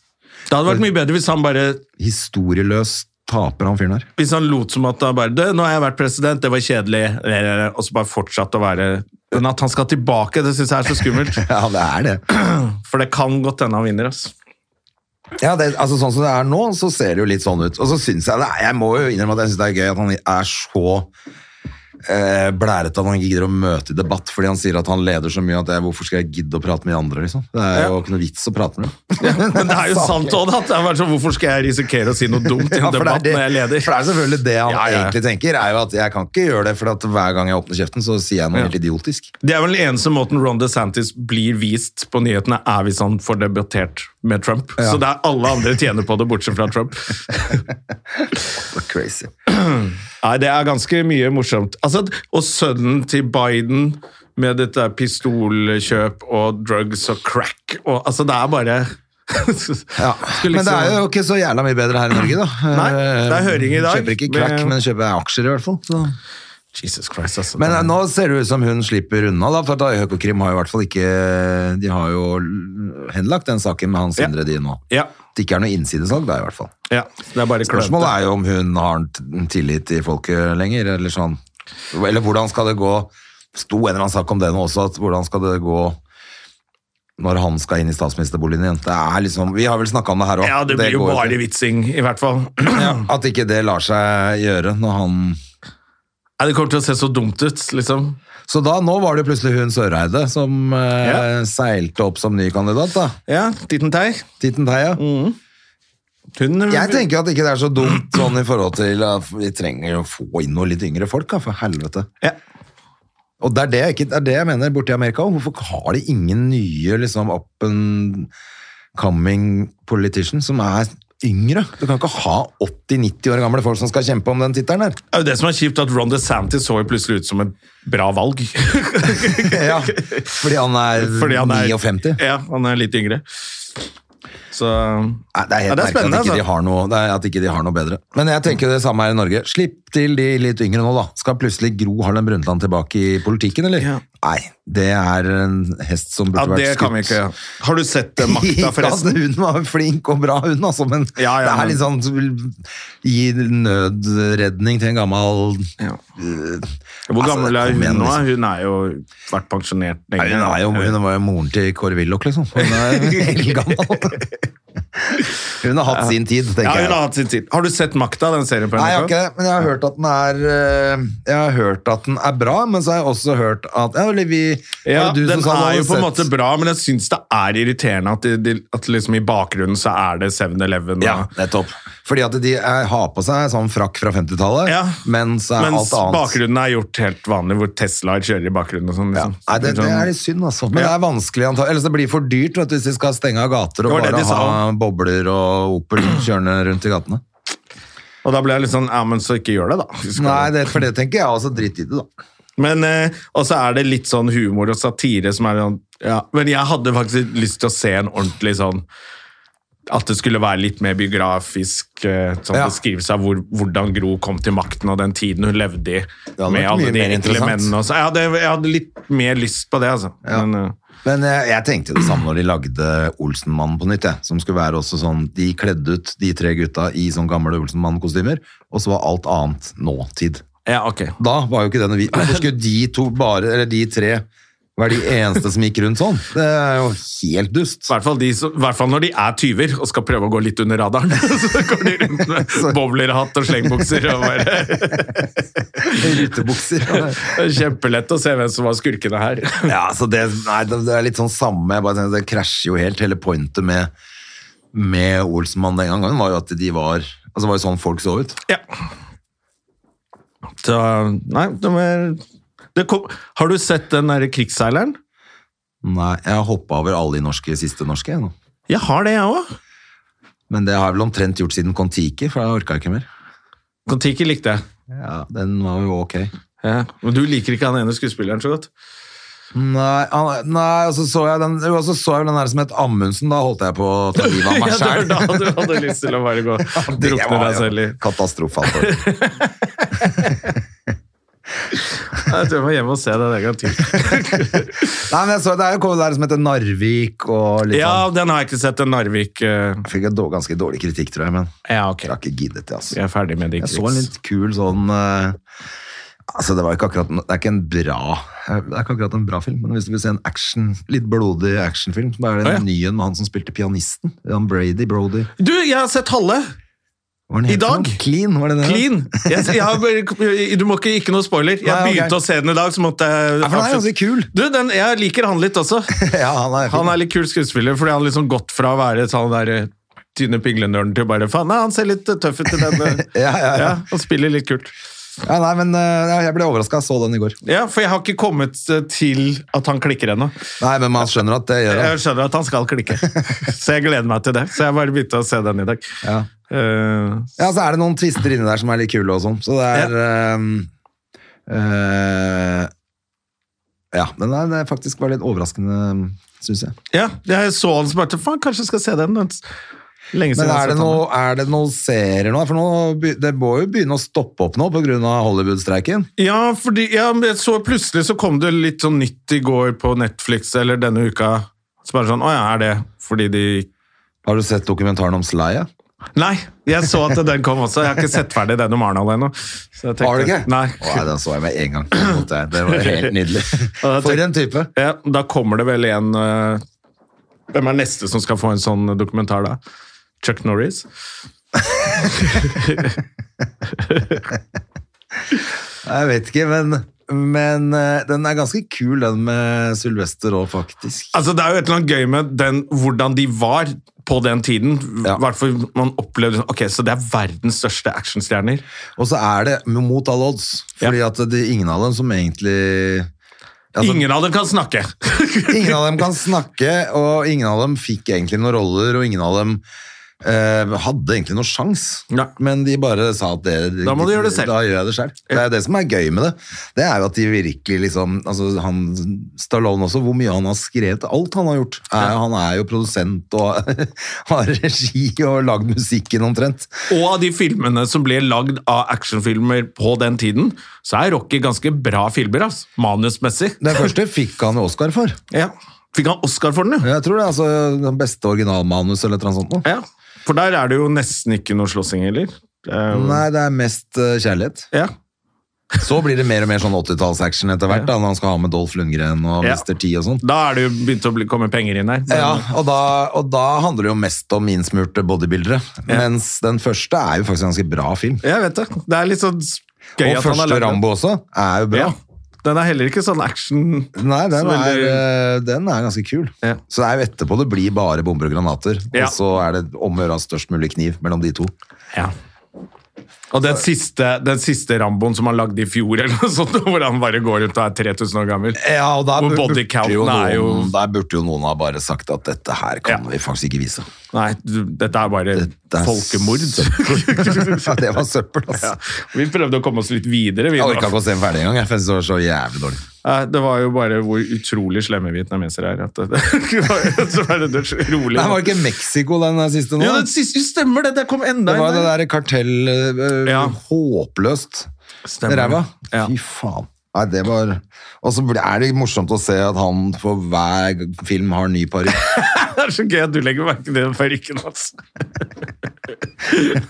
Det hadde vært mye bedre hvis han bare
Historieløst Taper han fyren her.
Hvis han lot som at han bare «Du, 'Nå har jeg vært president, det var kjedelig', eh, og så bare fortsatte å være Men at han skal tilbake, det syns jeg er så skummelt.
Ja, det er det.
For det kan godt hende han vinner. ass.
Ja, det, altså Sånn som det er nå, så ser det jo litt sånn ut. Og så synes jeg det, er- jeg må jo innrømme at jeg synes det er gøy at han er så eh, blærete at han ikke gidder å møte i debatt fordi han sier at han leder så mye at jeg, hvorfor skal jeg gidde å prate med de andre, liksom. Det er jo ikke noe vits å prate med dem.
Men det er jo sant òg, da. at Det er bare sånn, hvorfor skal jeg risikere å si noe dumt i en
Ja, for, det er
debatt
det,
når jeg leder?
for det er selvfølgelig det han
Ja, ja, ja.
egentlig tenker, er jo at jeg kan ikke gjøre det, for at hver gang jeg åpner kjeften, så sier jeg noe helt idiotisk.
Det er vel den eneste måten Ron DeSantis blir vist på nyhetene, er hvis han får debattert med Trump. Så det er alle andre tjener på det, bortsett fra Trump.
Så crazy.
Nei, det er ganske mye morsomt. Altså, og sønnen til Biden med dette pistolkjøp og drugs og crack og Altså, det er bare
Ja. Men
Skulle
det er
liksom-
jo ikke så jævla mye bedre her i Norge, da. Eh,
Nei, det er høring i dag.
Kjøper ikke crack,
Med-
men kjøper aksjer i hvert fall. Så.
Jesus Christ, altså.
Men
Det
eh,
er-
nå ser det ut som hun slipper unna, da, for at Økokrim har jo i hvert fall ikke De har jo l- henlagt den saken med Hans
Ja.
Indre de nå.
Ja.
Det ikke er noe innsidesalg der, i hvert fall.
ja. Det er bare
Spørsmålet
klønete.
er jo om hun har t- tillit til folket lenger, eller sånn. Eller hvordan skal det gå Sto en eller annen sak om det nå også, at hvordan skal det gå når han skal inn i statsministerboligen igjen? Det er liksom, Vi har vel snakka om det her òg.
Ja, det blir jo bare vitsing, i hvert fall. Nei,
At ikke det lar seg gjøre når han
det kommer til å se så dumt ut, liksom.
Så da, nå var det plutselig hun Søreide som eh,
Ja.
seilte opp som ny kandidat, da.
Ja, Titten Tei.
Titten Theia.
Mm. Hun eh,
Jeg tenker at ikke det er så dumt sånn i forhold til at vi trenger å få inn noen litt yngre folk, da, for helvete.
Ja.
Og det er det, jeg ikke, det er det jeg mener borti Amerika også. Hvorfor har de ingen nye liksom, up and coming politicians som er yngre? Du kan ikke ha 80-90 år gamle folk som skal kjempe om den tittelen her.
Det er jo det som er kjipt, at Ron DeSantis så jo plutselig ut som et bra valg.
Ja, fordi han er
Fordi han er
59.
Ja, han er litt yngre. Så
Nei, det er helt
Ja, det er
merkelig
spennende,
at ikke, de
altså.
har noe, det er at ikke de har noe bedre. Men jeg tenker det samme her i Norge. Slipp til de litt yngre nå, da. Skal plutselig Gro Harlem Brundtland tilbake i politikken, eller?
Ja.
Nei, det er en hest som
Ja,
burde
det
vært skutt.
kan vi ikke. Har du sett eh, Makta, forresten?
Ja, altså, hun var flink og bra, hun, altså, men
Ja,
det
ja, men-
er litt sånn du vil Gi nødredning til en gammel
Ja.
øh,
Hvor
altså,
gammel er
kom
hun
igjen,
nå?
liksom.
Hun er jo vært pensjonert
Nei,
lenge.
hun, er jo, hun var jo moren til Kåre Willoch, liksom. Hun er eldgammel. Hun har hatt sin tid, tenker
ja,
jeg.
hun har hatt sin tid. Har du sett Makta, den serien på
Nei, jeg har
NRK?
ikke det, men jeg har hørt at den er eh, Jeg har hørt at den er bra, men så har jeg også hørt at Ja, eller vi det
Ja,
var jo du
den
som sa du
er jo
hadde
på en
sett-
måte bra, men jeg syns det er irriterende at, de, de, at liksom i bakgrunnen så er det 7-Eleven. og-
Ja, nettopp. Fordi at de er, har på seg sånn frakk fra 50-tallet,
Ja.
men så er
Mens
eh, alt annet
bakgrunnen er gjort helt vanlig, hvor Teslaer kjører i bakgrunnen og sånn.
ja.
Liksom.
Nei, det, det er litt synd, altså. Men det
Ja.
er vanskelig, antagelig. Ellers det blir for dyrt vet du, hvis de skal stenge av gater og
Det var det
bare
de sa.
ha bobler og Opel kjørende rundt i gatene.
Og da ble jeg litt sånn, ja, men så ikke gjør det, da. Vi skal-
Nei, det, for det tenker jeg også. Drit i det, da.
Men, eh, og så er det litt sånn humor og satire som er sånn ja. Men jeg hadde faktisk lyst til å se en ordentlig sånn At det skulle være litt mer biografisk eh, sånn
Ja.
beskrivelse av hvor, hvordan Gro kom til makten og den tiden hun levde i.
hadde
Med
vært
alle
mye
de
mer
enkle
interessant.
mennene. og så- Jeg, hadde- jeg hadde litt mer lyst på det, altså. Men, eh,
Men jeg, jeg tenkte det samme når de lagde Olsenmannen på nytt, jeg, som skulle være også sånn De kledde ut de tre gutta i sånn gamle Olsenmann-kostymer, og så var alt annet nåtid.
ja, ok.
Da var jo ikke den vi... Hvorfor skulle de to bare, eller de tre, være de eneste som gikk rundt sånn? Det er jo helt dust.
I hvert, fall de som, I hvert fall når de er tyver og skal prøve å gå litt under radaren. Så går de rundt med bowlerhatt og slengbukser. og bare...
Rytebukser.
Det er Kjempelett å se hvem som var skurkene her.
Ja, så det, nei, det det er litt sånn samme. Jeg bare tenker, det krasjer jo helt hele pointet med, med Olsenmann den gangen, var jo at de var Altså, det var jo sånn folk så ut.
Ja. Så, nei, de er, det kom, har du sett den derre krigsseileren?
Nei, jeg har hoppa over alle de norske, siste norske. Jeg, nå.
Jeg har det, jeg òg.
Men det har jeg vel omtrent gjort siden Kon-Tiki, for jeg orka ikke mer.
Kon-Tiki likte jeg.
Ja, Den var jo ok.
Ja. Men du liker ikke han ene skuespilleren så godt?
Nei, han, nei og så så jeg den jo, og så så jeg vel den her som het Amundsen. Da holdt jeg på å ta livet av meg
Ja, det var
sjæl.
da du hadde lyst til å bare gå drukne
altså.
deg selv i
Katastrofalt.
Jeg så jeg må hjem og se det en gang til.
Nei, men jeg så det er jo kommet der som heter Narvik og litt
Ja,
sånn.
den har jeg ikke sett. Den Narvik eh,
Jeg fikk en dår- ganske dårlig kritikk, tror jeg, men
Ja, ok.
jeg har ikke giddet det, altså.
Jeg er ferdig med de
Jeg så en litt kul sånn eh, Altså, det var ikke akkurat en- Det er ikke en bra Det er ikke akkurat en bra film, men hvis du vil se en action, litt blodig actionfilm, så er det
Å, ja.
en ny en med han som spilte pianisten. Han Brady Brody.
Du, jeg har sett halve.
Hva var den
I
het for
dag?
noe? Clean, var det det?
Clean. Jeg, jeg har, bare- du må ikke ikke noe spoiler. Jeg
Nei, ok.
begynte å se den i dag, så måtte jeg
Ja, for den er ganske kul.
Du, den, jeg liker han litt også.
ja, han er,
Han er litt kul skuespiller, fordi han liksom gått fra å være sånn der eh, tynne pinglenørden til å bare faen, nei, han ser litt eh, tøff ut i den. eh."
Ja, ja, ja.
Han spiller litt kult.
ja, nei, men eh, ja, Jeg ble overraska, jeg så den i går.
Ja, for jeg har ikke kommet eh, til at han klikker ennå.
Nei, men man skjønner at det gjør han.
Jeg skjønner at han skal klikke, så jeg gleder meg til det. Så jeg bare begynte å se den i dag.
Ja.
Eh,
Ja, så er det noen twister inni der som er litt kule og sånn. Så det er eh, eh, Ja, den der det faktisk var litt overraskende, syns jeg.
ja, jeg så han som bare Faen, kanskje jeg skal se den. Lenge siden
Men
jeg har
er det,
sett han.
noe, er det noen serier nå? For nå, be- det må jo begynne å stoppe opp nå pga. Hollywood-streiken.
Ja, fordi ja, men jeg så plutselig så kom det litt sånn nytt i går på Netflix, eller denne uka. Så bare sånn, å ja, er det fordi de...
Har du sett dokumentaren om Sly? ja?
Nei, jeg så at den kom også. Jeg har ikke sett ferdig den om Arnold ennå. Så jeg tenkte-
Har du ikke?
Nei.
Å, nei, den så jeg med en gang. Det måtte jeg. Det var helt nydelig.
Ja, det-
For en type.
Ja, da kommer det vel en... eh, hvem er neste som skal få en sånn dokumentar da? Chuck Norris?
Jeg vet ikke, men, men eh, den er ganske kul, den med Sylvester òg, faktisk.
Altså, det er jo et eller annet gøy med den, hvordan de var på den tiden.
Ja.
Hvertfall man opplevde... sånn, Ok, så det er verdens største actionstjerner.
Og så er det mot alle odds, fordi at det, ingen av dem som egentlig Altså-
Ingen av dem kan snakke.
Ingen av dem kan snakke, og ingen av dem fikk egentlig noen roller, og ingen av dem eh, hadde egentlig noen sjans.
Ja.
Men de bare sa at det,
Da må du gjøre det selv.
Da gjør jeg det selv. Det er det som er gøy med det. Det er jo at de virkelig liksom altså han, Stallone også, hvor mye han har skrevet, alt han har gjort. Er, Han er jo produsent og har regi og lagd musikken omtrent.
Og av de filmene som ble lagd av actionfilmer på den tiden, så er Rocky ganske bra filmer, ass. manusmessig.
Den første fikk han jo Oscar for.
Ja. Fikk han Oscar for den, jo?
Jeg tror det er altså den beste originalmanus eller et eller annet sånt. nå.
Ja. For der er det jo nesten ikke noe slåssing heller. Det er jo-
Nei, det er mest eh, kjærlighet.
Ja.
Så blir det mer og mer sånn 80-tallsaction etter hvert, da, når han skal ha med Dolph Lundgren og
Ja.
Mr. T og sånn.
Da er det jo begynt å bli, komme penger inn her. Men-
Ja, og da, og da handler det jo mest om innsmurte bodybuildere. Mens den første er jo faktisk en ganske bra film.
Jeg vet det. Det er litt sånn gøy
Og
at han har
første
lagd den.
Rambo også er jo bra.
Ja. Den er heller ikke sånn action
Nei, den
Så
er,
veldig-
eh, den er ganske kul.
Ja.
Så det er jo etterpå det blir bare bomber og granater.
Ja.
Og så er det om å gjøre å ha størst mulig kniv mellom de to.
Ja. Og den siste, den siste Ramboen som han lagde i fjor, eller noe sånt, hvor han bare går rundt og er 3000 år gammel.
Ja, og da
Hvor
burde,
body counten
jo noen,
er jo-
der burde jo noen ha bare sagt at dette her kan
Ja.
vi faktisk ikke vise.
Nei, du, dette er bare
Dette er
folkemord.
søppel. ja, det var søppel, altså.
Ja. Vi prøvde å komme oss litt videre. Vi
Jeg orka ikke å se den ferdig engang. Jeg syntes det var så jævlig dårlig.
Nei, Det var jo bare hvor utrolig slemme vietnamesere er. At det, det var jo så var det døds rolig.
Nei, var det ikke Mexico den der siste nå?
ja, det siste, jo, stemmer det! Det kom enda
det
en
var det
der.
der kartell øh,
Ja.
Håpløst.
Stemmer det.
Ræva.
Ja.
Fy faen. Nei, det var Og så ble- er det morsomt å se at han for hver film har ny parykk.
Det er så gøy at du legger merke til den parykken hans.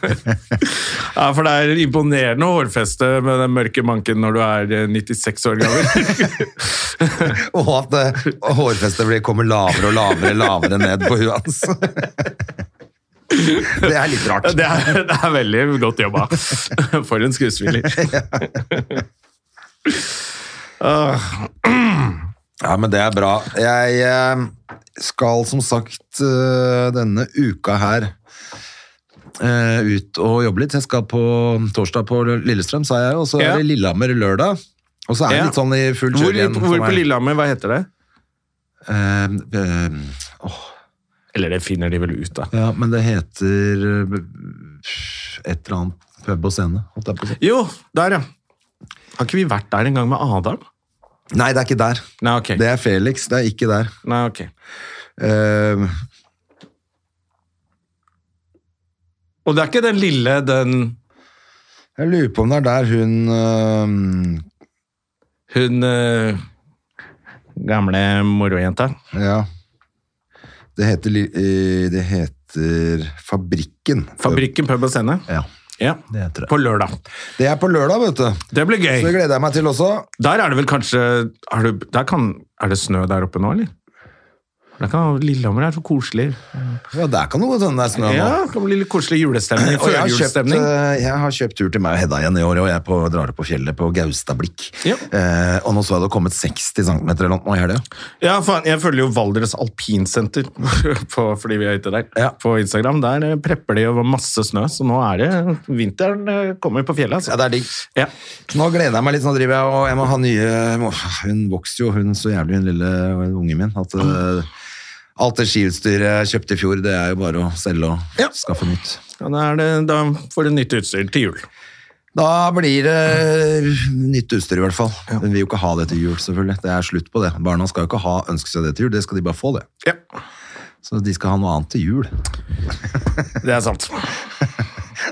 ja, for det er imponerende hårfeste med den mørke manken når du er eh, 96 år gammel.
Og at eh, hårfestet blir- kommer lavere og lavere lavere ned på huet hans. Det er litt rart.
Det er, det er veldig godt jobba. For en skuespiller. Ah,
Ja, men det er bra. Jeg eh, skal som sagt eh, denne uka her eh, ut og jobbe litt. Jeg skal på torsdag på Lillestrøm, sa jeg, og så
Ja.
er det Lillehammer lørdag. Og så er det
Ja.
litt sånn i full kjør
Hvor,
igjen. Eh,
hvor på Lillehammer, hva heter det?
Lillehammer?
Eller det finner de vel ut av.
ja, men det heter eh, et eller annet pub og scene. holdt jeg på å si.
Jo, der ja. Har ikke vi vært der en gang med Adam?
Nei, det er ikke der.
Nei, ok.
Det er Felix, det er ikke der.
Nei, ok.
Eh,
Og det er ikke den lille, den
jeg lurer på om det er der hun eh,
Hun eh, gamle morojenta.
Ja. Det heter, li- eh, det heter Fabrikken.
Fabrikken pub og scene.
Ja.
Ja.
Det heter det.
På lørdag.
Det er på lørdag, vet du.
Det blir
Så det
gøy.
gleder jeg meg til også.
Der er det vel kanskje Er det, der kan, er det snø der oppe nå, eller? Der kan Lillehammer er så koselig.
Ja, der kan det godt hende det er snø nå.
Ja, det kan bli litt koselig julestemning.
Og jeg har, kjøpt,
Førjulsstemning.
eh, jeg har kjøpt tur til meg og Hedda igjen i år, og jeg er på, drar opp på fjellet på Gaustablikk.
Ja.
Eh, og nå så jeg det hadde kommet 60 cm eller noe i helga.
Ja, faen, jeg følger jo Valdres Alpinsenter på, fordi vi er ute der.
Ja.
På Instagram. Der eh, prepper de over masse snø, så nå er det Vinteren eh, kommer på fjellet,
Ja,
altså.
det er digg.
Ja.
Nå gleder jeg meg litt, nå driver jeg og jeg må ha nye må, Hun vokser jo, hun så jævlig, hun lille ungen min. At, eh, alt det skiutstyret jeg kjøpte i fjor, det er jo bare å selge og
Ja.
skaffe nytt.
Ja, da, er det, da får du nytt utstyr til jul.
Da blir det nytt utstyr, i hvert fall. Hun vil jo ikke ha det til jul, selvfølgelig. Det er slutt på det. Barna skal jo ikke ha ønske seg det til jul, det skal de bare få, det.
Ja,
Så de skal ha noe annet til jul.
det er sant.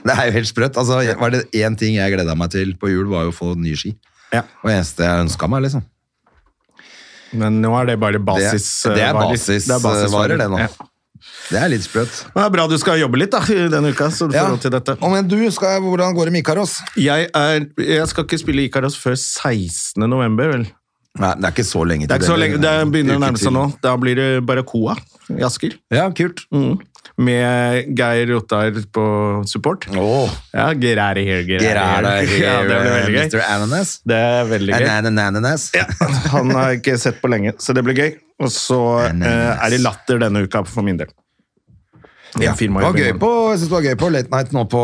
Det er jo helt sprøtt. Altså, var det én ting jeg gleda meg til på jul, var jo å få nye ski.
Ja.
Og det eneste jeg ønska meg, liksom.
Men nå er det bare
Det,
basis...
det er
eh, varer. Det er
basisvarer, det nå.
Ja.
Det er litt sprøtt.
Men Det er bra du skal jobbe litt da, i denne uka, så du får råd til dette.
Og men du, skal, hvordan går det med Ikaros?
Jeg, er, jeg skal ikke spille Ikaros før 16. november, vel?
Nei, det er ikke så lenge til.
Det er ikke så lenge, det
er en
begynner å
uke
nærme seg
til.
nå. Da blir det Barracoa i Asker. Mm.
Ja, kult.
Med Geir Ottar på support.
Åh,
Ja, Geir er her, Geir
Geir er
her.
der,
Ja, det blir veldig
Mr.
gøy.
Ananas.
Det er veldig gøy.
Ananas.
Ja, han har jeg ikke sett på lenge, så det blir gøy. Og så
Nei, nei,
eh,
nei.
er det latter denne uka, for min del.
Ja,
Jeg
det
filmer
var
jo
gøy
filmen.
på, jeg synes det var gøy på Late Night nå på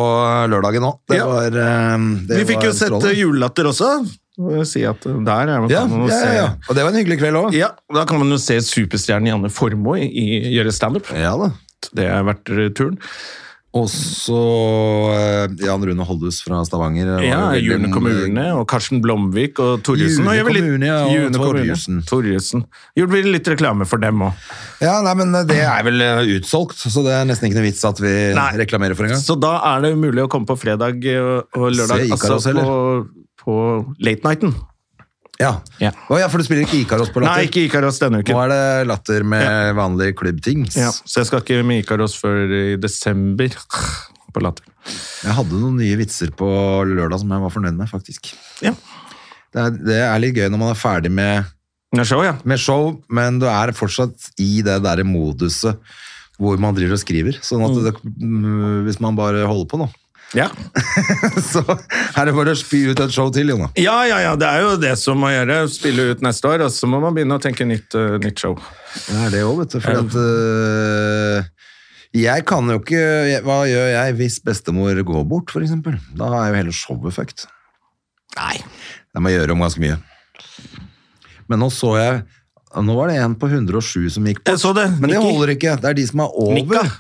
lørdagen nå. Det
Ja.
var, eh, det
Vi fikk
var
jo sett
strålende.
eh, julelatter også. Må jeg Si at eh, der er man
Ja,
kan man jo
ja, ja, ja.
se
Og det var en hyggelig kveld òg.
ja, Da kan man jo se superstjernen Janne Formoe i, i, gjøre standup.
Ja da.
Det har vært eh, turen.
Og så eh, Jan Rune Holdhus fra Stavanger. var
Ja,
jo veldig-
June kommune og Karsten Blomvik og Torjussen.
June
Og jeg vil litt-
kommune, ja, og
June kommune.
Torjussen.
Torjussen. Gjorde vi litt reklame for dem òg.
Ja, nei, men det er vel eh, utsolgt, så det er nesten ikke noe vits at vi
Nei.
reklamerer for engang.
Så da er det mulig å komme på fredag eh, og og lørdag,
Se Ikaros,
altså på, på late nighten.
Ja.
Ja.
Å, ja, for du spiller ikke Ikaros på
Nei,
Latter?
ikke Ikaros
Nå
denne uken.
er det Latter med vanlige klubbtings.
Ja, så jeg skal ikke med Ikaros før i desember på Latter.
Jeg hadde noen nye vitser på lørdag som jeg var fornøyd med, faktisk.
Ja.
Det er, det er litt gøy når man er ferdig med,
Det er show, ja.
med show, men du er fortsatt i det der moduset hvor man driver og skriver. Sånn at det, mm, hvis man bare holder på nå,
ja.
så er det bare å spy ut et show til, Jonna.
Ja, ja, ja, det er jo det som må gjøre. Spille ut neste år, og så må man begynne å tenke nytt, eh, nytt show.
Det er det òg, vet du. For at øh, Jeg kan jo ikke jeg- Hva gjør jeg hvis bestemor går bort, f.eks.? Da er jo hele showet fucked.
Nei.
Jeg må gjøre om ganske mye. Men nå så jeg Nå var det en på 107 som gikk
Jeg
bort.
så det.
Men det
Nikki.
holder ikke. Det er de som er
Nikka.
over.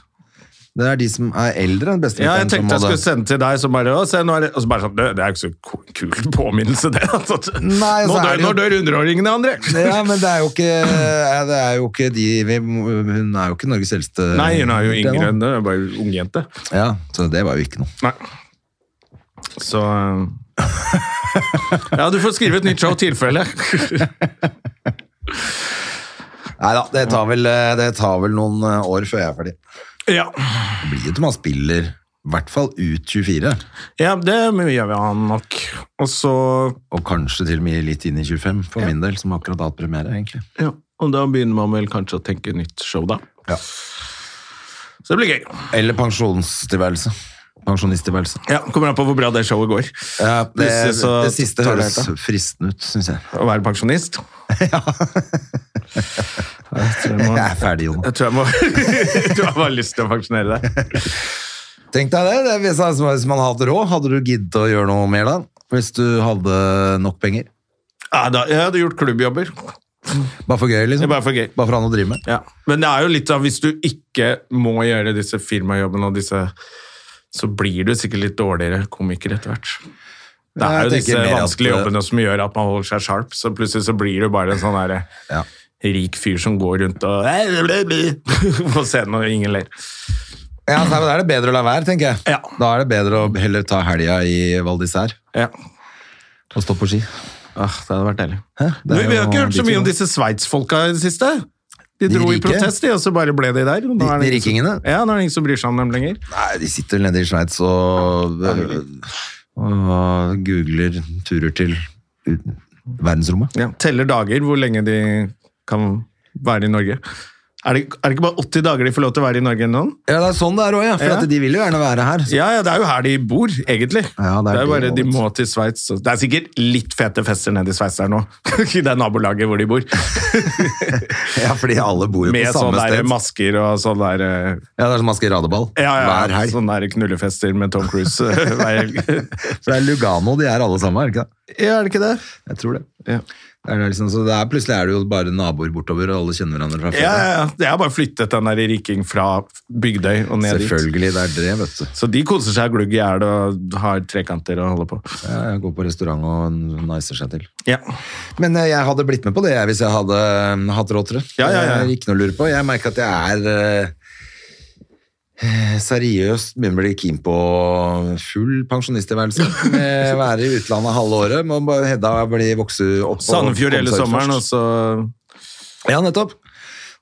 Det er de som er eldre enn
Ja, jeg
bestemutteren som
tenkte jeg
hadde
skulle sende til deg, så bare, å, se, nå er det, og så bare sånn, det, det er jo ikke så ko- kul påminnelse det. altså.
Nei,
nå,
så er
dør,
det jo-
nå dør underåringene, André.
Ja, men det er jo ikke, det er jo ikke de vi, Hun er jo ikke Norges eldste.
Nei, hun er jo yngre
nå.
enn det, hun er bare ungjente.
Ja, så det var jo ikke noe.
Nei. Så... eh, Ja, du får skrive et nytt show tilfelle.
Nei da, det tar vel, det tar vel noen eh, år før jeg er ferdig.
ja.
Det blir jo til man spiller i hvert fall ut 24,
ja, det gjør vi han nok. Og så...
og kanskje til og med litt inn i 25 for min del, som akkurat har hatt premiere, egentlig.
Ja, og da begynner man vel kanskje å tenke nytt show da.
Ja.
Så det blir gøy.
Eller pensjonstilværelse. Pensjonisttilværelse.
Ja, kommer an på hvor bra det showet går.
Ja, det,
Plutselig
det
så
siste
tar det
høres
helt
fristende ut, syns jeg.
Å være pensjonist. Ja. Jeg tror jeg må,
Jeg er ferdig, Jon.
jeg tror jeg må jeg tror jeg bare har lyst til å pensjonere deg.
Tenk deg det, det er hvis, altså, hvis man hadde råd, hadde du giddet å gjøre noe mer da? Hvis du hadde nok penger?
Ja, da, jeg hadde gjort klubbjobber. Det
Bare for gøy,
er
liksom?
bare for gøy.
Bare for han å drive med?
Ja. Men det er jo litt av hvis du ikke må gjøre disse firmajobbene og disse Så blir du sikkert litt dårligere komiker etter hvert. Det
Ja,
er
jeg
jo disse
tenker mer at- eh,
vanskelige jobbene som gjør at man holder seg sharp, så plutselig så blir du bare en sånn derre
Ja.
rik fyr som går rundt og på scenen og ingen ler.
Ja, nei, men Da er det bedre å la være, tenker jeg.
Ja.
Da er det bedre å heller ta helga i Val d'Isère
Ja.
og stå på ski.
Ah, det hadde vært deilig.
Det er
Du, vi har
jo
ikke hørt så
de
mye
to.
om disse Sveits-folka i det siste. De
De
dro i
rike?
protest, de, og så bare ble de der. Nå
De-
er
de
det ingen som-
rikingene?
Ja, nå er det ingen som bryr seg om dem lenger.
Nei, de sitter nede i Sveits og, og googler turer til ut- verdensrommet.
Ja, teller dager hvor lenge de kan være i Norge. Er det, er det ikke bare 80 dager de får lov til å være i Norge nå?
Ja, det er sånn det er òg, ja. For
Ja.
at de vil jo gjerne være her. Så.
Ja, ja, det er jo her de bor, egentlig.
Ja,
det,
det
er
er
jo bare
det,
de
vet du.
må til Sveits. så- Det er sikkert litt fete fester nede i Sveits der nå. I det nabolaget hvor de bor.
Ja, fordi alle bor jo
Med
på samme
sånne der
sted.
masker og sånn der eh,
Ja, det er som maskeradeball
ja, ja,
hver helg.
Sånne der knullefester med Tom Cruise eh, hver helg.
Så det er Lugano de er alle sammen, er det ikke det?
Ja, er det ikke det?
Jeg tror det.
Ja.
Det er liksom, så det er, plutselig er det jo bare naboer bortover, og alle kjenner hverandre fra før.
Ja, ja, ja. Jeg har bare flyttet den der riking fra Bygdøy og ned dit.
Selvfølgelig, det er det, vet du.
Så de koser seg glugg i hjel og har trekanter og holder på.
Ja, jeg går på restaurant og nicer seg til.
Ja.
Men eh, jeg hadde blitt med på det jeg, hvis jeg hadde eh, hatt råd til det.
Ja, ja, ja.
Det er Ikke noe å lure på. Jeg merker at jeg er eh, seriøst begynner å bli keen på full pensjonisttilværelse. Med å Være i utlandet halve året. Må bare Hedda bli vokse opp. og
Sandefjord hele
komme seg ut
sommeren, og
først.
så
Ja, nettopp.